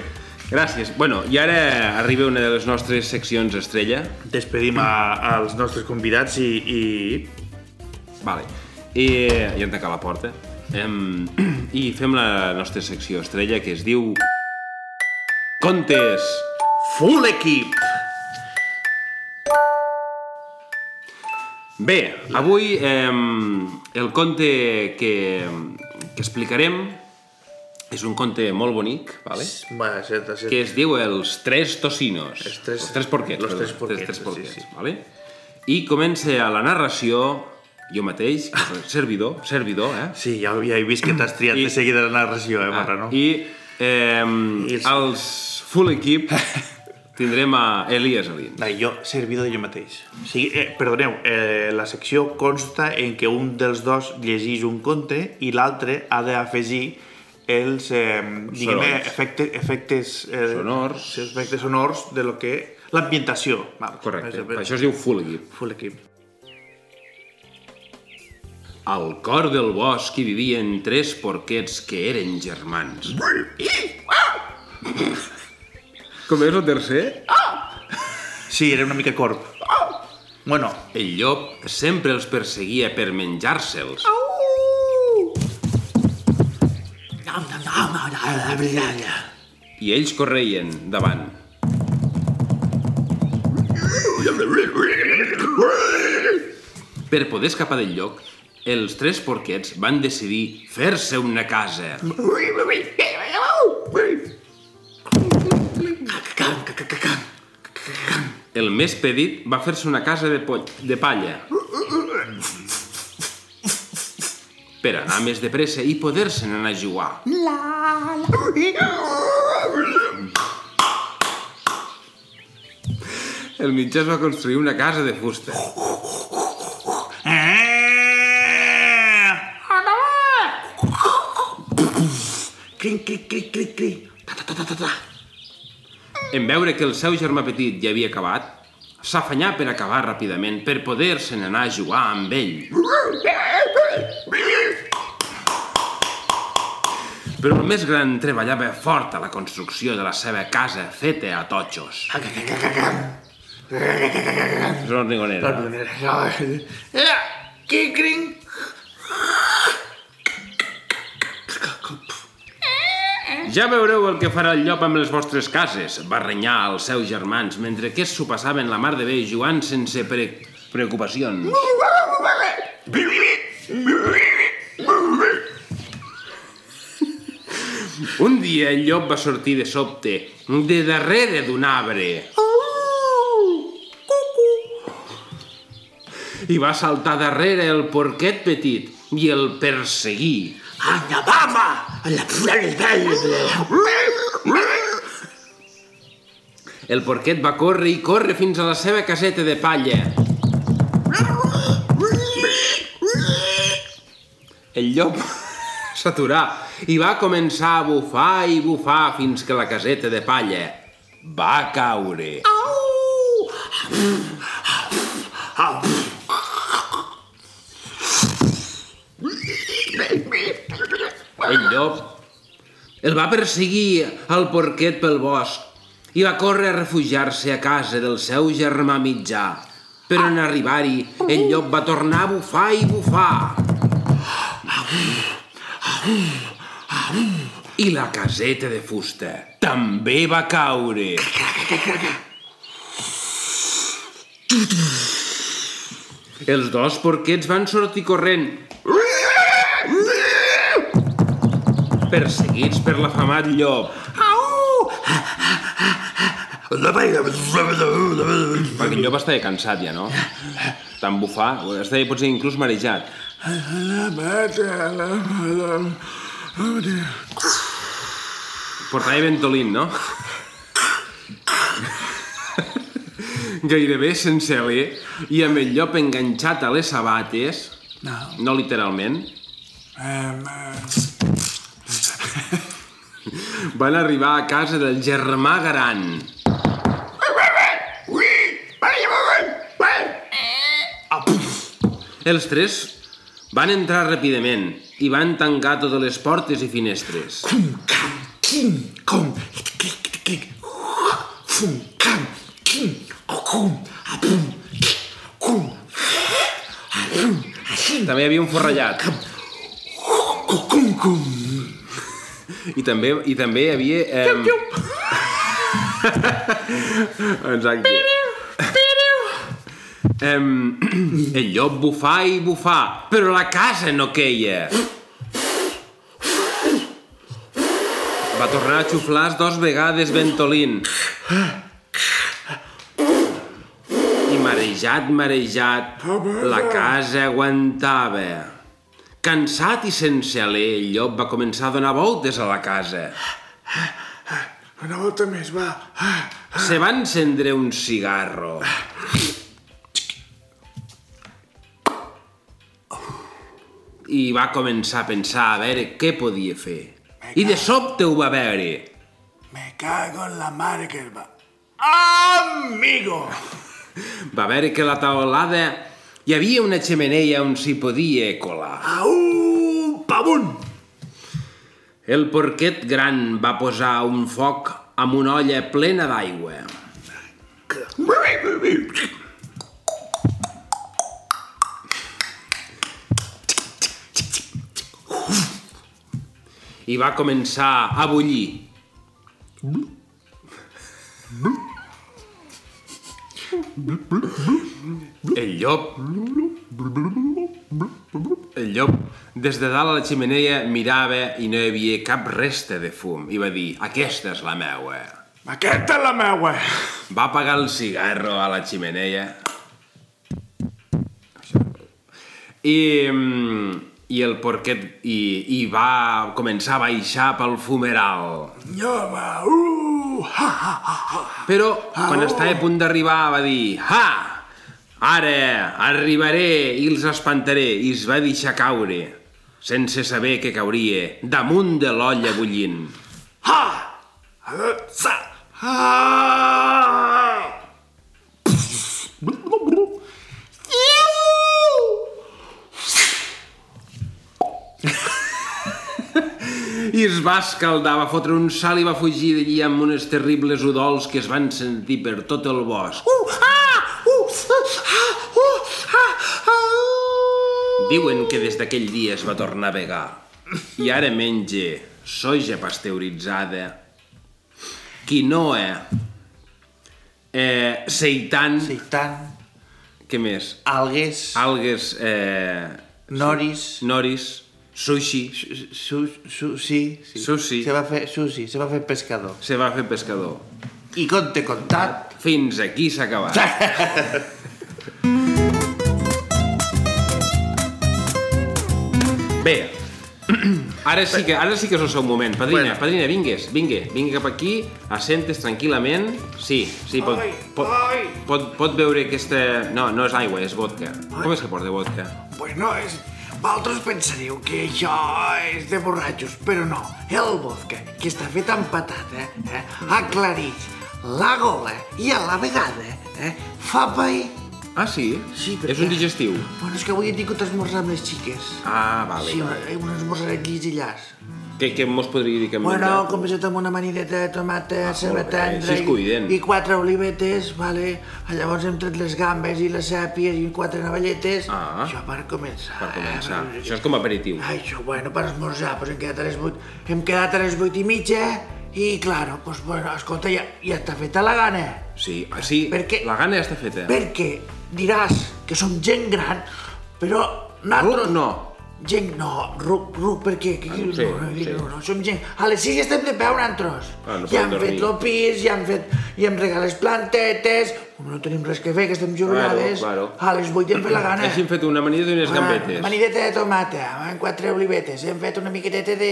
Speaker 7: Gràcies. Bueno, i ara arriba una de les nostres seccions estrella.
Speaker 1: Despedim a, als nostres convidats i, i
Speaker 7: Vale. I ja hem tancat la porta. Em, I fem la nostra secció estrella que es diu... Contes!
Speaker 1: Full equip!
Speaker 7: Bé, avui eh, el conte que, que explicarem és un conte molt bonic, vale?
Speaker 1: Va, senta, senta.
Speaker 7: que es diu Els tres tocinos.
Speaker 1: Els tres-
Speaker 7: els tres porquets.
Speaker 1: los
Speaker 7: perdó,
Speaker 1: tres porquets,
Speaker 7: tres
Speaker 1: sí,
Speaker 7: porquets
Speaker 1: sí.
Speaker 7: vale? I comença la narració, jo mateix, servidor, servidor, eh?
Speaker 1: Sí, ja, ja he vist que t'has triat
Speaker 7: I-
Speaker 1: de seguida la narració, eh, Marra, no?
Speaker 7: I
Speaker 2: Eh,
Speaker 1: I els-
Speaker 2: Ah, els full equip tindrem a Elias Alin.
Speaker 1: Ai, jo, servidor de jo mateix. O sigui, eh, perdoneu, eh, la secció consta en que un dels dos llegeix un conte i l'altre ha d'afegir els eh, diguem,
Speaker 2: Sonors.
Speaker 1: efectes, efectes, eh,
Speaker 2: Sonors.
Speaker 1: efectes sonors de lo que... L'ambientació. Vamos,
Speaker 2: Correcte.
Speaker 1: Per
Speaker 2: Per això es diu full equip.
Speaker 1: Full equip.
Speaker 2: Al cor del bosc hi vivien tres porquets que eren germans. Com és el tercer?
Speaker 1: Sí, era una mica corp. Ah! Bueno,
Speaker 2: El llop sempre els perseguia per menjar-se'ls. I ells correien davant. Per poder escapar del lloc, els tres porquets van decidir fer-se una casa. El més petit va fer-se una casa de, po- de palla per anar més de pressa i poder-se'n anar a jugar. El mitjà es va construir una casa de fusta.
Speaker 1: Crin, crin, crin, crin, crin.
Speaker 2: En veure que el seu germà petit ja havia acabat, s'afanyà per acabar ràpidament, per poder-se'n anar a jugar amb ell. Però el més gran treballava fort a la construcció de la seva casa feta a totxos. Sornigonera.
Speaker 1: Era, crin, crin.
Speaker 2: Ja veureu el que farà el llop amb les vostres cases, va renyar als seus germans, mentre que s'ho passaven la mar de bé jugant sense pre preocupacions. Un dia el llop va sortir de sobte, de darrere d'un arbre. I va saltar darrere el porquet petit i el perseguí. El porquet va córrer i córrer fins a la seva caseta de palla. El llop s'aturà i va començar a bufar i bufar fins que la caseta de palla va caure. El llop el va perseguir el porquet pel bosc i va córrer a refugiar-se a casa del seu germà mitjà. Però en arribar-hi, el llop va tornar a bufar i bufar. I la caseta de fusta també va caure. Els dos porquets van sortir corrent perseguits per l'afamat llop. Perquè el llop estava cansat ja, no? Tan bufar, estava potser inclús marejat. Portava ventolín, no? Gairebé sense alè i amb el llop enganxat a les sabates, no literalment, van arribar a casa del germà gran. Els tres van entrar ràpidament i van tancar totes les portes i finestres. També hi havia un forrellat. I també, i també hi havia... Eh... Exacte. Em, el llop bufà i bufà, però la casa no queia. Va tornar a xuflar dos vegades ventolint. I marejat, marejat, la casa aguantava. Cansat i sense alè, el llop va començar a donar voltes a la casa.
Speaker 4: Una volta més, va. Ah,
Speaker 2: Se va encendre un cigarro. I va començar a pensar a veure què podia fer. I de sobte ho va veure.
Speaker 4: me cago en la mare que el va. Amigo!
Speaker 2: Va veure que a la taulada hi havia una xemeneia on s'hi podia colar.
Speaker 4: Au, pavun!
Speaker 2: El porquet gran va posar un foc amb una olla plena d'aigua. I va començar a bullir. El llop... El llop, des de dalt a la ximeneia, mirava i no hi havia cap resta de fum. I va dir, aquesta és la meua.
Speaker 4: Aquesta és la meua.
Speaker 2: Va apagar el cigarro a la ximeneia. I, mm, i el porquet... I, I va començar a baixar pel fumeral.
Speaker 4: Nyoma, uh, ha, ha, ha, ha.
Speaker 2: Però, quan estava a punt d'arribar, va dir «Ha! Ara arribaré i els espantaré!» i es va deixar caure, sense saber que cauria, damunt de l'olla bullint.
Speaker 4: Ha! Sa! Ha!
Speaker 2: I es va escaldar, va fotre un salt i va fugir d'allí amb unes terribles udols que es van sentir per tot el bosc.
Speaker 4: Uh, ah! Uh, ah! Uh, ah! Ah!
Speaker 2: Diuen que des d'aquell dia es va tornar vegà i ara menja soja pasteuritzada, quinoa, eh, seitan,
Speaker 8: Seitan,
Speaker 2: Què més?
Speaker 8: algues,
Speaker 2: Algues, eh,
Speaker 8: noris,
Speaker 2: noris, sushi.
Speaker 8: su- su- sushi, sí.
Speaker 2: Sushi.
Speaker 8: Se va fer sushi, se va fer pescador.
Speaker 2: Se va fer pescador.
Speaker 8: I conte contat,
Speaker 2: Fins aquí s'ha acabat. Bé, ara sí que, ara sí que és el seu moment. Padrina, bueno. padrina, vingues, vingue, vingue cap aquí, assentes tranquil·lament. Sí, sí, pot,
Speaker 4: Ai,
Speaker 2: pot,
Speaker 4: ai.
Speaker 2: pot, pot veure aquesta... No, no és aigua, és vodka. Com és que porta vodka?
Speaker 4: Bueno, és... Vosaltres pensaríeu que això és de borratxos, però no. El vodka, que està fet amb patata, eh, aclareix la gola i a la vegada eh, fa pair.
Speaker 2: Ah, sí?
Speaker 4: Sí,
Speaker 2: és
Speaker 4: perquè-
Speaker 2: un digestiu.
Speaker 4: Bueno, és que avui he tingut esmorzar amb les xiques.
Speaker 2: Ah, vale.
Speaker 4: Sí,
Speaker 2: Sí.
Speaker 4: un esmorzar aquí i llars.
Speaker 2: Què, què mos podria dir que hem
Speaker 4: Bueno,
Speaker 2: menjat?
Speaker 4: com he fet amb una manideta de tomata, ah, ceba
Speaker 2: molt bé,
Speaker 4: tendra
Speaker 2: així es cuiden.
Speaker 4: i, i quatre olivetes, vale? Llavors hem tret les gambes i les sàpies i quatre navalletes.
Speaker 2: Ah.
Speaker 4: Això per començar.
Speaker 2: Per començar.
Speaker 4: eh?
Speaker 2: Això és com a aperitiu.
Speaker 4: Ai, això, bueno, per esmorzar, doncs hem quedat a les 8, hem quedat a les 8 i mitja i, claro, doncs, bueno, escolta, ja, ja està feta la gana.
Speaker 2: Sí, ah, sí,
Speaker 4: Per què?
Speaker 2: la gana ja està feta.
Speaker 4: Perquè diràs que som gent gran, però nosaltres...
Speaker 2: Ruc no.
Speaker 4: Gent no, ruc, ruc, perquè aquí
Speaker 2: Ah, sí,
Speaker 4: no, aquí
Speaker 2: sí.
Speaker 4: no, no, som gent. A les 6 ja estem de peu nosaltres.
Speaker 2: Ah, no podem
Speaker 4: ja hem
Speaker 2: dormir.
Speaker 4: fet lo pis, ja hem fet... Ja hem regalat les plantetes... Com no tenim res que fer, que estem jornades...
Speaker 2: claro.
Speaker 4: A les 8 ja hem fet la gana.
Speaker 2: Així hem fet una amanida i unes gambetes.
Speaker 4: Manideta Ah, de tomata, amb quatre olivetes. Hem fet una miqueteta de...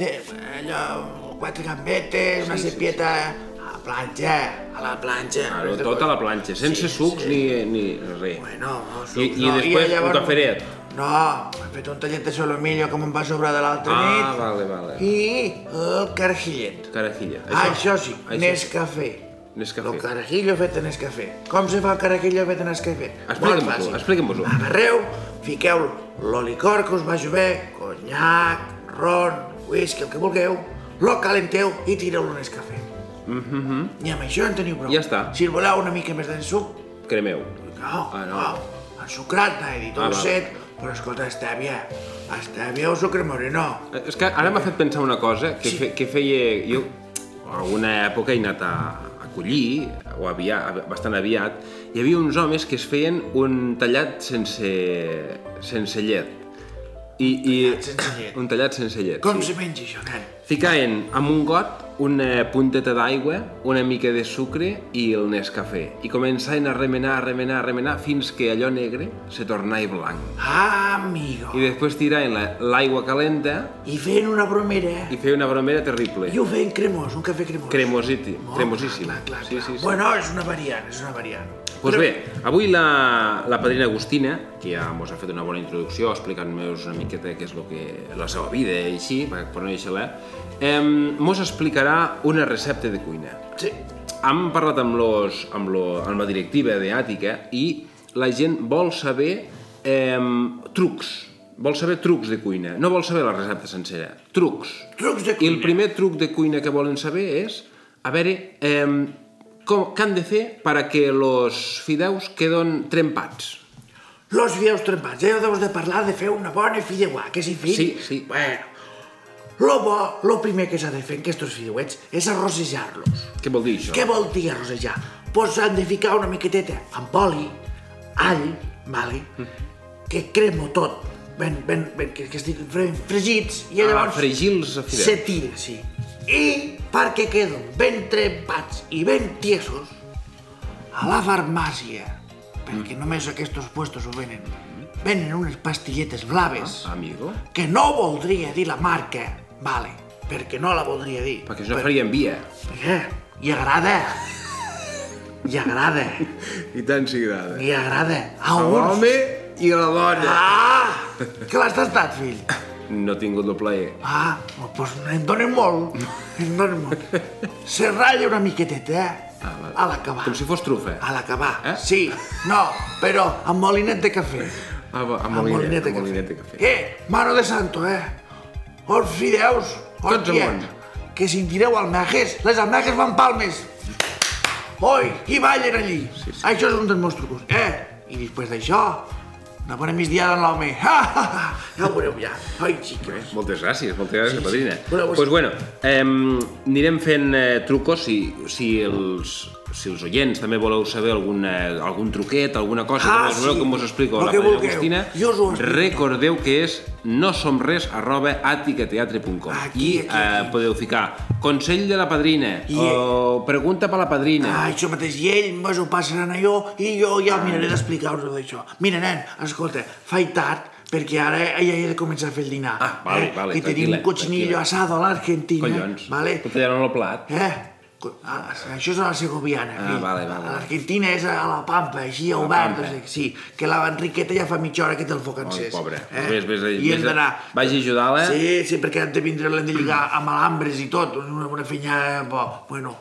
Speaker 4: de allò, quatre gambetes, una sepieta... A la planxa, a la planxa.
Speaker 2: Claro, tot a la planxa, sense sucs ni, ni res.
Speaker 4: Bueno, no,
Speaker 2: I- i després un caferet.
Speaker 4: No, he fet un tallet de solomillo com em va sobrar de l'altra
Speaker 2: ah,
Speaker 4: nit.
Speaker 2: vale, vale. I...
Speaker 4: I el carajillet.
Speaker 2: Carajilla.
Speaker 4: Això, Ah, això sí,
Speaker 2: Això
Speaker 4: Nescafé.
Speaker 2: Nescafé.
Speaker 4: El carajillo fet en Nescafé. Com se fa el carajillo fet en Nescafé? Molt
Speaker 2: Explica'm-ho,
Speaker 4: fàcil.
Speaker 2: explica'm-ho.
Speaker 4: Agarreu, fiqueu lo licor que us vagi bé, conyac, ron, whisky, el que vulgueu, lo calenteu i tireu-lo en Nescafé. Mm -hmm. I amb això en teniu prou.
Speaker 2: Mm-hmm. Ja està.
Speaker 4: Si el voleu una mica més d'ensuc,
Speaker 2: Cremeu.
Speaker 4: no,
Speaker 2: Ah,
Speaker 4: ah,
Speaker 2: no.
Speaker 4: no. no. El sucrat, he dit
Speaker 2: Ah,
Speaker 4: un
Speaker 2: val.
Speaker 4: set, però escolta, estàvia. Estàvia o sucre moreno.
Speaker 2: Eh, És que ara m'ha fet pensar una cosa que,
Speaker 4: Sí.
Speaker 2: fe, que feia... Jo alguna època he anat a, a collir, o aviat, bastant aviat, hi havia uns homes que es feien un tallat sense, sense llet. I, i
Speaker 4: sense llet.
Speaker 2: un tallat sense llet.
Speaker 4: Com se menja això, nen?
Speaker 2: Ficaven amb un got una punteta d'aigua, una mica de sucre i el Nescafé. I començaven a remenar, a remenar, a remenar, fins que allò negre se tornava blanc.
Speaker 4: Ah, amigo.
Speaker 2: I després tiraven la- l'aigua calenta
Speaker 4: I fent una bromera, eh?
Speaker 2: i feien una bromera terrible.
Speaker 4: I ho feien cremós, un cafè cremós.
Speaker 2: Cremosíti,
Speaker 4: Oh,
Speaker 2: cremosíssim.
Speaker 4: Clar, clar, clar,
Speaker 2: Sí, sí, sí.
Speaker 4: Bueno, és una variant, és una variant.
Speaker 2: Pues bé, avui la, la padrina Agustina, que ja mos ha fet una bona introducció explicant-nos una miqueta què és lo que, la seva vida i així, per conèixer-la, eh, mos explicarà una recepta de cuina.
Speaker 4: Sí.
Speaker 2: Hem parlat amb, los, amb, lo, amb la directiva d'Àtica i la gent vol saber eh, trucs, vol saber trucs de cuina, no vol saber la recepta sencera, trucs.
Speaker 4: Trucs de
Speaker 2: I
Speaker 4: cuina.
Speaker 2: el primer truc de cuina que volen saber és, a veure, eh, com, què han de fer perquè los fideus queden trempats.
Speaker 4: Los fideus trempats, eh? Deus de parlar de fer una bona fideuà, que sí, fill?
Speaker 2: Sí, sí.
Speaker 4: Bueno, lo bo, lo primer que s'ha de fer en aquests fideuets és arrossejar-los.
Speaker 2: Què vol dir això?
Speaker 4: Què vol dir arrossejar? Pues han de ficar una miqueteta amb oli, all, vale,
Speaker 2: Mm.
Speaker 4: que cremo tot, ben, ben, ben, que, que estiguin fre- fregits, i
Speaker 2: Ah,
Speaker 4: llavors...
Speaker 2: fregir els fideus.
Speaker 4: Se tira, sí. I perquè queden ben trempats i ben tiesos, a la farmàcia, perquè només aquests puestos ho venen, venen unes pastilletes blaves,
Speaker 2: Amigo,
Speaker 4: que no voldria dir la marca, vale, perquè no la voldria dir.
Speaker 2: perquè si no farien via.
Speaker 4: Perquè hi agrada. Hi agrada.
Speaker 2: I tant s'hi agrada.
Speaker 4: Hi agrada. A uns...
Speaker 2: i la dona.
Speaker 4: Ah! Que l'has tastat, fill?
Speaker 2: No he tingut el plaer.
Speaker 4: Ah, doncs en donen molt. En donen molt. Se ratlla una miqueteta, eh?
Speaker 2: Ah, vale.
Speaker 4: A l'acabar.
Speaker 2: Com si fos trufa.
Speaker 4: A l'acabar,
Speaker 2: Eh?
Speaker 4: sí. No, però amb molinet de cafè.
Speaker 2: Ah, va, amb,
Speaker 4: Amb
Speaker 2: molinet,
Speaker 4: molinet de
Speaker 2: amb molinet de
Speaker 4: cafè.
Speaker 2: cafè.
Speaker 4: Eh, mano de santo, eh? Os fideus,
Speaker 2: Tots
Speaker 4: hòstia,
Speaker 2: amunt.
Speaker 4: que si en tireu almejes, les almejes van palmes. Oi, i ballen allí.
Speaker 2: Sí, sí.
Speaker 4: Això és un dels meus trucos. Eh, i després d'això, una bona migdiada en l'home. Ja ho veureu ja. Ai, xiques.
Speaker 2: Eh, Moltes gràcies, moltes gràcies,
Speaker 4: Sí, sí.
Speaker 2: padrina.
Speaker 4: Bueno, vos-
Speaker 2: pues bueno, ehm, anirem fent eh, trucos si, si els si els oients també voleu saber alguna, algun truquet, alguna cosa
Speaker 4: Ah,
Speaker 2: que voleu
Speaker 4: sí.
Speaker 2: que us explico
Speaker 4: Lo
Speaker 2: la
Speaker 4: que
Speaker 2: Maria
Speaker 4: vulgueu.
Speaker 2: Agustina,
Speaker 4: Jo us ho explico.
Speaker 2: recordeu que és nosomres arroba aticateatre.com
Speaker 4: Aquí,
Speaker 2: i
Speaker 4: aquí,
Speaker 2: Eh, podeu ficar consell de la padrina
Speaker 4: I-
Speaker 2: o pregunta per la padrina.
Speaker 4: Ah, això mateix, i ell mos ho passaran a jo i jo ja miraré d'explicar-vos d'això. Mira, nen, escolta, faig tard, perquè ara ja he de començar a fer el dinar.
Speaker 2: Ah, vale, vale,
Speaker 4: Que tenim
Speaker 2: tranquil·la,
Speaker 4: un cochinillo
Speaker 2: tranquil·la.
Speaker 4: asado a l'Argentina.
Speaker 2: Collons,
Speaker 4: Vale?
Speaker 2: que tallaran el plat.
Speaker 4: Eh? Co- Ah, això és a la segoviana.
Speaker 2: Ah,
Speaker 4: fill.
Speaker 2: vale, vale.
Speaker 4: A L'Argentina és a la Pampa, així, a obert,
Speaker 2: Pampa.
Speaker 4: o sigui, sí, que la Enriqueta ja fa mitja hora que té el foc encès. Eh?
Speaker 2: pobre.
Speaker 8: Eh?
Speaker 2: Vés- vés a-
Speaker 4: I
Speaker 2: vés
Speaker 4: hem
Speaker 2: a-
Speaker 4: d'anar...
Speaker 2: vagi a eh? ajudar-la.
Speaker 4: Sí, sí, perquè hem de vindre, l'hem de lligar amb alambres i tot, una, una fenya... Bo, bueno,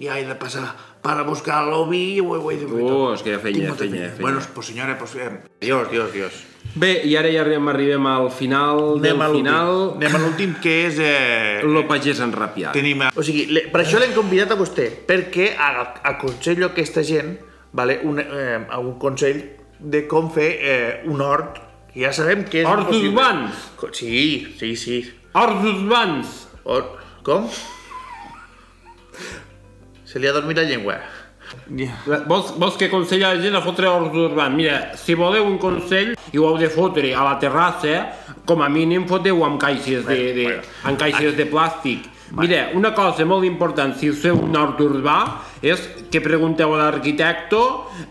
Speaker 4: ja he de passar per a buscar l'oví i ho, ho he de fer
Speaker 2: Oh,
Speaker 4: tot.
Speaker 2: és que hi ha fenya,
Speaker 4: Tinc molta
Speaker 2: fenya, fenya.
Speaker 4: Bueno, pues senyora, pues... Eh,
Speaker 8: Dios, Dios, Dios.
Speaker 2: Bé, i ara ja arribem, arribem al final del
Speaker 8: Anem a l'últim.
Speaker 2: final.
Speaker 8: Anem a l'últim, que és... Eh,
Speaker 2: Lo pagès enrapiat.
Speaker 8: tenim...
Speaker 7: O sigui, le, per això l'hem convidat a vostè, perquè a- aconsello a aquesta gent vale, un, eh, un consell de com fer eh, un hort, que ja sabem que és
Speaker 2: Horts
Speaker 7: impossible.
Speaker 2: urbans.
Speaker 7: Co- Sí, sí, sí.
Speaker 2: Horts urbans!
Speaker 7: Hort, com? Se li ha dormit la llengua.
Speaker 2: Oh, Vols, vols que aconsella la gent a fotre horts urbans? Mira, si voleu un consell i ho heu de fotre a la terrassa, com a mínim foteu amb caixes de, de, amb caixes de plàstic. Mira, una cosa molt important, si us feu un hort urbà, és que pregunteu a l'arquitecte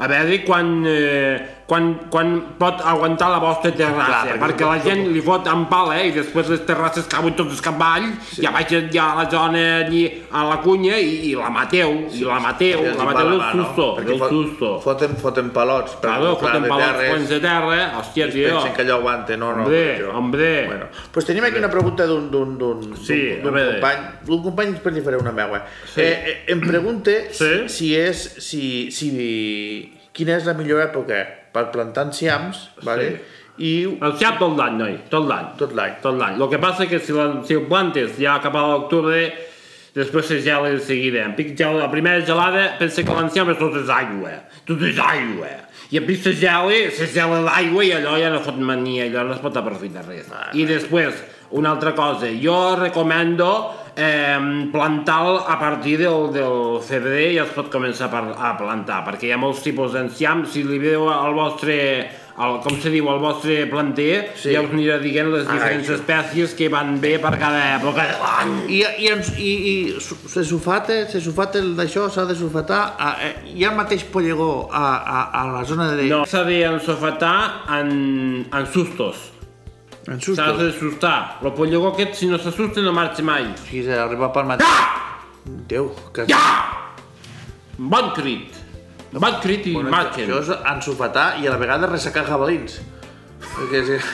Speaker 2: a veure quan, eh, quan, quan pot aguantar la vostra terrassa, perquè, la gent li fot amb pala eh, i després les terrasses cauen totes cap avall, sí. ja baixen ja a la zona allí a la cunya i, i la mateu, i la mateu,
Speaker 7: Els hi
Speaker 2: la
Speaker 7: va
Speaker 2: mateu del
Speaker 7: la mà, no?
Speaker 2: susto,
Speaker 7: Perquè
Speaker 2: del
Speaker 7: fot-
Speaker 2: susto.
Speaker 7: Foten, foten palots, però
Speaker 2: Claro,
Speaker 7: clar,
Speaker 2: foten
Speaker 7: de
Speaker 2: palots,
Speaker 7: terres,
Speaker 2: plens de terra, hòstia, tio.
Speaker 7: Pensen que allò aguanta, no, no.
Speaker 2: Hombre,
Speaker 7: això.
Speaker 2: hombre.
Speaker 7: Bueno, pues tenim aquí una pregunta d'un d'un d'un
Speaker 2: Sí,
Speaker 7: d'un-
Speaker 2: a
Speaker 7: d'un
Speaker 2: veure.
Speaker 7: company, d'un company després li faré una meua. Eh, eh, em pregunta si,
Speaker 2: Sí.
Speaker 7: si és si, si quina és la millor època per plantar enciams, vale? I
Speaker 2: El xap tot l'any, noi, tot l'any.
Speaker 7: Tot l'any.
Speaker 2: Tot l'any. Lo que passa que si, la, si ho plantes ja cap a l'octubre, després se gela de seguida. En pic gela, la primera gelada, pensa que l'enciam és tot és aigua. Tot és aigua. I en pic se gela, se gela l'aigua i allò ja no fot
Speaker 7: Ah,
Speaker 2: mania, allò no es pot aprofitar res. I després, una altra cosa, jo recomendo eh, plantar a partir del, del CBD ja es pot començar a par- a plantar, perquè hi ha molts tipus d'enciam, si li veu al vostre el, com se diu, el vostre planter, sí. ja us anirà
Speaker 7: Ah,
Speaker 2: dient les diferents espècies que van bé per cada època de l'any.
Speaker 7: I, i, ens, i, i su- se sulfata, se sulfata el d'això, s'ha de sulfatar. A, a, hi ha el mateix pollegó a, a, a la zona de...
Speaker 2: No, s'ha d'ensofatar en, en sustos.
Speaker 7: En
Speaker 2: S'ha
Speaker 7: susto.
Speaker 2: d'assustar. El pollogó aquest, si no s'assusta, no marxa mai.
Speaker 7: Si arriba pel matí. Ah! Déu, que... Ja!
Speaker 2: Bon crit. Bon crit i
Speaker 7: Bueno,
Speaker 2: marxen.
Speaker 7: Això és ensofatar i a la vegada ressecar jabalins. Perquè és...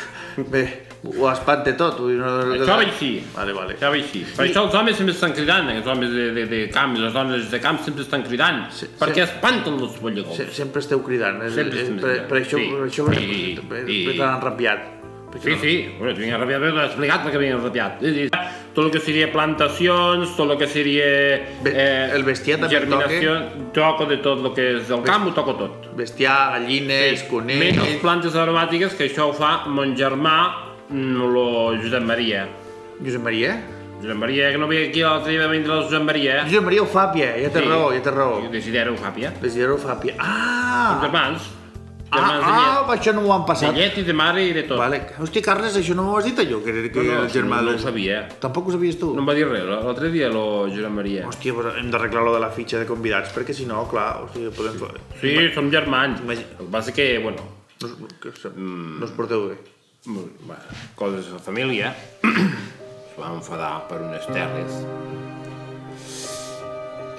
Speaker 7: Bé, ho espante tot. Vull dir, no...
Speaker 2: Això va així.
Speaker 7: Vale, vale.
Speaker 2: Això va així. Per això els homes sempre estan cridant, eh? els homes de, de, de camp i les dones de camp sempre estan cridant,
Speaker 7: Sí, sí.
Speaker 2: perquè espanten els pollegons.
Speaker 7: Se, sempre esteu cridant. És,
Speaker 2: Sempre
Speaker 7: és,
Speaker 2: estem
Speaker 7: per,
Speaker 2: cridant,
Speaker 7: per això,
Speaker 2: sí.
Speaker 7: per això
Speaker 2: I-
Speaker 7: per, per,
Speaker 2: i-
Speaker 7: tan enrabiat. Perquè
Speaker 2: Sí, sí, bueno, vinc enrabiat, però l'he explicat perquè vinc enrabiat. És a dir, tot el que seria plantacions, tot el que seria...
Speaker 7: Bé, el bestiar també
Speaker 2: germinació, Toco de tot el que és del camp, ho toco tot.
Speaker 7: Bestiar, gallines, sí. conills...
Speaker 2: Menys plantes aromàtiques, que això ho fa mon germà, mm, lo Josep Maria.
Speaker 7: Josep Maria? eh?
Speaker 2: Josep Maria, que no veia aquí l'altre dia va vindre el Josep Maria.
Speaker 7: Josep Maria ho fa, Pia, ja té
Speaker 2: Sí.
Speaker 7: raó, ja té raó.
Speaker 2: Jo desidero Fàpia.
Speaker 7: Desidero ho fa, Pia.
Speaker 2: Els
Speaker 7: Ah!
Speaker 2: germans.
Speaker 7: Ah,
Speaker 2: Germans de llet.
Speaker 7: ah, això no ho han
Speaker 2: De
Speaker 7: passat.
Speaker 2: llet i de mare i de tot.
Speaker 7: Vale. Hosti, Carles, això no m'ho has dit jo, que, que
Speaker 2: No, no,
Speaker 7: era el germà
Speaker 2: no, no
Speaker 7: del-
Speaker 2: ho sabia.
Speaker 7: Tampoc ho sabies tu?
Speaker 2: No em va dir res, l'altre dia lo Josep Maria.
Speaker 7: Hòstia, però hem d'arreglar lo de la fitxa de convidats, perquè si no, clar, o sigui, podem... Sí.
Speaker 2: Sí, som germans. El
Speaker 7: Imagina-
Speaker 2: que passa que, bueno,
Speaker 7: No, us- que, se-
Speaker 1: mm,
Speaker 7: no us porteu bé.
Speaker 2: bueno, coses de família. Es va enfadar per unes terres.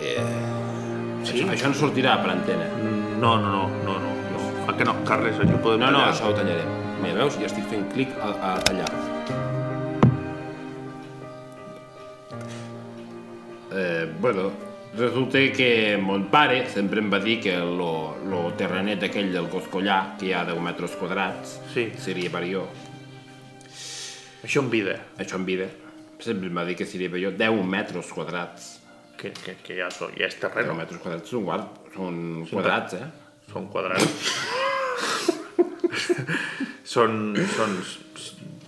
Speaker 2: Eh, sí? això, això ens sortirà per antena.
Speaker 7: No, no, no, no, no. no. Ah, que no, Carles, això ho podem
Speaker 2: No, no,
Speaker 7: tallar.
Speaker 2: això ho tallarem. Mira, veus? Ja estic fent clic a, a tallar. Eh, bueno, resulta que mon pare sempre em va dir que lo, lo terrenet aquell del Coscollar, que hi ha 10 metres quadrats,
Speaker 7: Sí.
Speaker 2: seria per jo.
Speaker 7: Això en vida.
Speaker 2: Això en vida. Sempre em va dir que seria per jo 10 metres quadrats.
Speaker 7: Que, que, que ja, so, ja és
Speaker 2: 10
Speaker 7: terreno,
Speaker 2: metres quadrats són, guard, són quadrats, eh?
Speaker 7: són quadrats. són, són... s-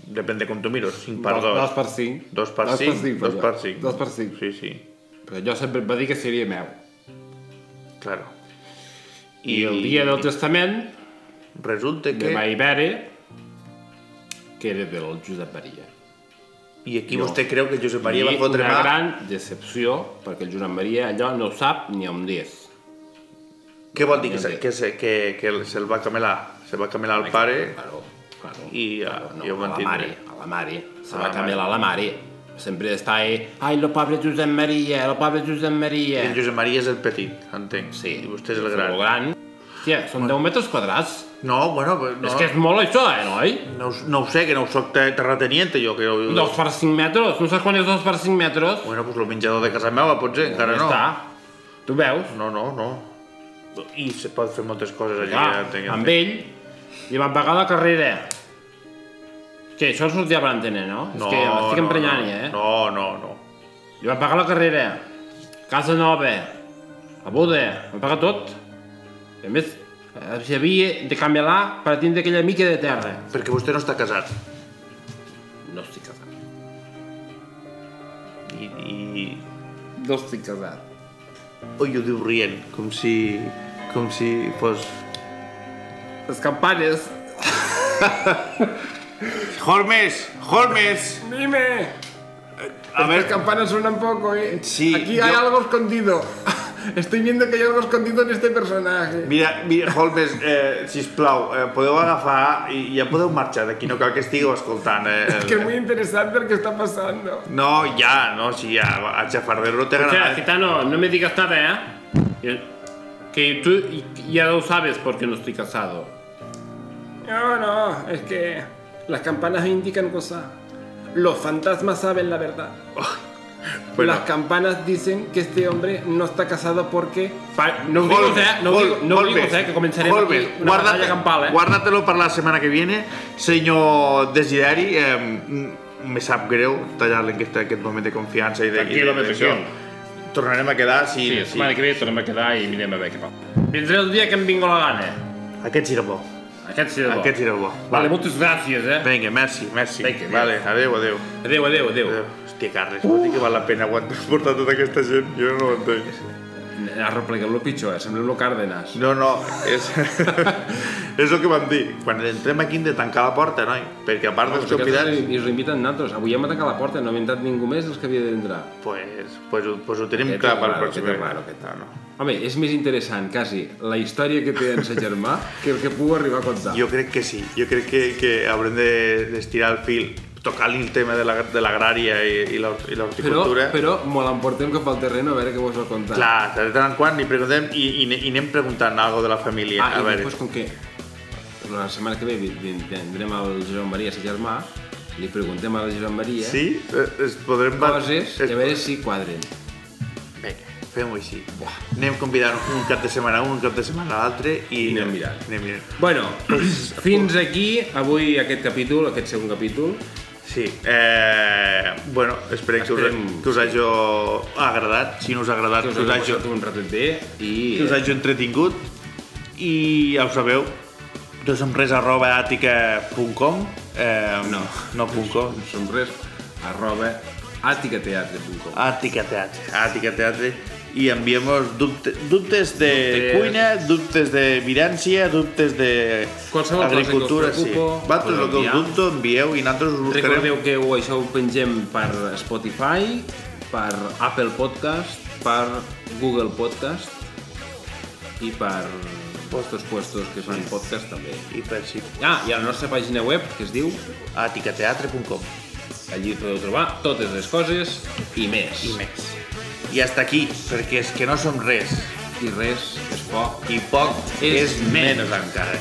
Speaker 7: Depèn de com tu miro, 5 per 2.
Speaker 2: dos per cinc.
Speaker 7: Dos per
Speaker 2: Dos per
Speaker 7: 5.
Speaker 2: cinc,
Speaker 7: Dos
Speaker 2: per
Speaker 7: per
Speaker 2: allò.
Speaker 7: 5.
Speaker 2: Dos per cinc.
Speaker 7: Sí, sí,
Speaker 2: Però jo sempre em va dir que seria meu.
Speaker 7: claro.
Speaker 2: I, I el dia del testament,
Speaker 7: Resulta
Speaker 2: de
Speaker 7: que...
Speaker 2: Maibere, que era del Josep Maria.
Speaker 7: I aquí
Speaker 2: Jo.
Speaker 7: vostè creu que Josep Maria
Speaker 2: I
Speaker 7: va fotre
Speaker 2: una
Speaker 7: mà...
Speaker 2: gran decepció, perquè el Josep Maria allò no ho sap ni on és.
Speaker 7: Què vol dir? Que, se, que, se, que, que se'l va camelar? Se'l va camelar el pare...
Speaker 2: Claro, claro.
Speaker 7: I, ah,
Speaker 2: claro,
Speaker 7: ja ho
Speaker 2: a la
Speaker 7: entendré.
Speaker 2: mare, a la mare. Se
Speaker 7: A
Speaker 2: va
Speaker 7: la
Speaker 2: camelar a la mare. Sempre està ahí, ai, el pobre Josep Maria, el pobre Josep Maria.
Speaker 7: El Josep Maria és el petit, entenc.
Speaker 2: Sí,
Speaker 7: I vostè és el gran.
Speaker 2: El gran. eh, Hòstia, són 10 metres quadrats.
Speaker 7: No, bueno, però no,
Speaker 2: És que és molt això, eh, noi?
Speaker 7: no, ho- no ho sé, que no ho soc te- terrateniente, jo. Que jo, jo...
Speaker 2: 2 per 5 metres, no saps quan és 2 per 5 metres?
Speaker 7: Bueno, doncs el menjador de casa meva, potser, encara
Speaker 2: Ja
Speaker 7: no.
Speaker 2: Està. Tu veus?
Speaker 7: No, no, no. I se pot fer moltes coses allà,
Speaker 2: Clar,
Speaker 7: ja entenc.
Speaker 2: Ah, amb ell li van pagar la carrera. Que això sortia per antena, no? És que m'estic emprenyant,
Speaker 7: no,
Speaker 2: ja, eh?
Speaker 7: No, no, no.
Speaker 2: Li van pagar la carrera, casa nova, la boda, van pagar tot. I a més, eh, s'havia de camelar per tindre aquella mica de terra.
Speaker 7: Perquè vostè no està casat.
Speaker 2: No estic casat.
Speaker 7: I, i...
Speaker 2: No estic casat.
Speaker 7: Oi, ho diu rient, com si... Com si fos...
Speaker 2: Les campanes...
Speaker 8: Holmes, Holmes.
Speaker 6: Dime.
Speaker 8: A ver,
Speaker 6: campanas suenan poco, ¿eh?
Speaker 8: Sí,
Speaker 6: Aquí hay
Speaker 8: yo-
Speaker 6: algo escondido. Estoy viendo que hay algo escondido en este personaje.
Speaker 7: Mira, mira Holmes, eh, sisplau, eh, podeu agafar i ja podeu marxar d'aquí, no cal que estigueu escoltant. Eh, el-
Speaker 6: Que es muy interesante lo que está pasando.
Speaker 7: No, ja, no, si ja, a Xafardero no té
Speaker 2: Escucha,
Speaker 7: agradat.
Speaker 2: gitano, no me digas nada, ¿eh? Que tú ya lo sabes porque no estoy casado.
Speaker 6: No, no, es que las campanas indican cosas. Los fantasmas saben la verdad.
Speaker 7: Bueno.
Speaker 6: Las campanas dicen que este hombre no está casado porque...
Speaker 2: Pa- No ho digo, eh? No ho digo, no ho digo, eh? Que començarem
Speaker 7: Holmes,
Speaker 2: aquí una batalla campal, eh?
Speaker 7: Guárdatelo per la setmana que viene. Senyor Desideri, eh, m- me sap greu tallar-li aquest, aquest moment de confiança i de...
Speaker 2: Tranquil,
Speaker 7: i de-
Speaker 2: home,
Speaker 7: de-
Speaker 2: tranquil.
Speaker 7: Tornarem a quedar, sí,
Speaker 2: Sí, la
Speaker 7: sí.
Speaker 2: setmana que ve tornem a quedar i mirem a veure què passa. Vindré el dia que em vingo la gana. eh?
Speaker 7: Aquest serà bo,
Speaker 2: Aquest sí de bo.
Speaker 7: aquest serà bo.
Speaker 2: Vale, moltes gràcies, eh?
Speaker 7: Vinga, merci, merci.
Speaker 2: Vinga, adéu.
Speaker 7: vale, adéu, adéu.
Speaker 2: Adéu, adéu, adéu.
Speaker 7: adéu. Eh, Hòstia, Carles, uh. dir que val la pena quan has portat tota aquesta gent. Jo no ho entenc.
Speaker 6: Has replicat lo pitjor, eh? Semblem lo Cárdenas.
Speaker 7: No, no, és, és el que vam dir. Quan entrem aquí hem de tancar la porta, noi, perquè a part dels convidats...
Speaker 6: I us inviten nosaltres. Avui hem atacat la porta, no ha entrat ningú més dels que havia d'entrar.
Speaker 7: Pues, pues, ho- pues ho tenim
Speaker 6: Aquest
Speaker 7: clar
Speaker 6: és
Speaker 7: per
Speaker 6: raro,
Speaker 7: la pròxima.
Speaker 6: aquest és raro, aquest.
Speaker 7: vegada. no, no.
Speaker 6: Home, és més interessant, quasi, la història que té en sa germà que el que puc arribar a contar.
Speaker 7: Jo crec que sí, jo crec que, que haurem de- d'estirar el fil, tocar-li el tema de la- de l'agrària la, i, i la- i
Speaker 6: però,
Speaker 7: l'horticultura.
Speaker 6: però me l'emportem cap al terreny a veure què vos va contar.
Speaker 7: Clar, de tant en quant li preguntem i, i, i anem preguntant algo de la família.
Speaker 6: Ah,
Speaker 7: a
Speaker 6: i
Speaker 7: veure.
Speaker 6: després, com que la setmana que ve vi- vi- tindrem el Josep Maria, sa germà, li preguntem al Josep Maria
Speaker 7: Sí? Eh, Es podrem...
Speaker 6: coses
Speaker 7: es-
Speaker 6: i a veure si quadren.
Speaker 7: Vinga, fem-ho així. Anem convidant un cap de setmana un, un cap de setmana l'altre i...
Speaker 6: I anem mirant.
Speaker 7: Anem mirant.
Speaker 6: Bueno, fins aquí avui aquest capítol, aquest segon capítol.
Speaker 7: Sí. Eh, bueno, esperem que us,
Speaker 6: Esperem-
Speaker 7: que us hagi agradat. Si no us ha agradat,
Speaker 6: Que us
Speaker 7: que us,
Speaker 6: hagi
Speaker 7: hagi,
Speaker 6: passat un ratet bé i...
Speaker 7: que us hagi entretingut. I ja ho sabeu, nosemres arroba àtica.com eh,
Speaker 6: No.
Speaker 7: No punt com.
Speaker 6: Som res arroba aticateatre.com
Speaker 7: Àtica Teatre. Àtica Teatre. I enviem-vos dubte, dubtes de
Speaker 6: Dubtes.
Speaker 7: cuina, dubtes de virància, dubtes de
Speaker 6: Qualsevol cosa que us
Speaker 7: agricultura,
Speaker 6: preocupo,
Speaker 7: sí. Vosaltres el
Speaker 6: podeu
Speaker 7: que us
Speaker 6: enviar.
Speaker 7: dubto, envieu i nosaltres us buscarem.
Speaker 6: Recordeu que ho- això ho pengem per Spotify, per Apple Podcast, per Google Podcast i per estos puestos que fan podcast també.
Speaker 7: I per si...
Speaker 6: Ah, i a la nostra pàgina web, que es diu,
Speaker 7: Aticateatre.com
Speaker 6: allí podeu trobar totes les coses i més.
Speaker 7: i més. I hasta aquí, perquè és que no som res.
Speaker 6: I res és poc.
Speaker 7: I poc
Speaker 6: És
Speaker 7: és, és menys encara.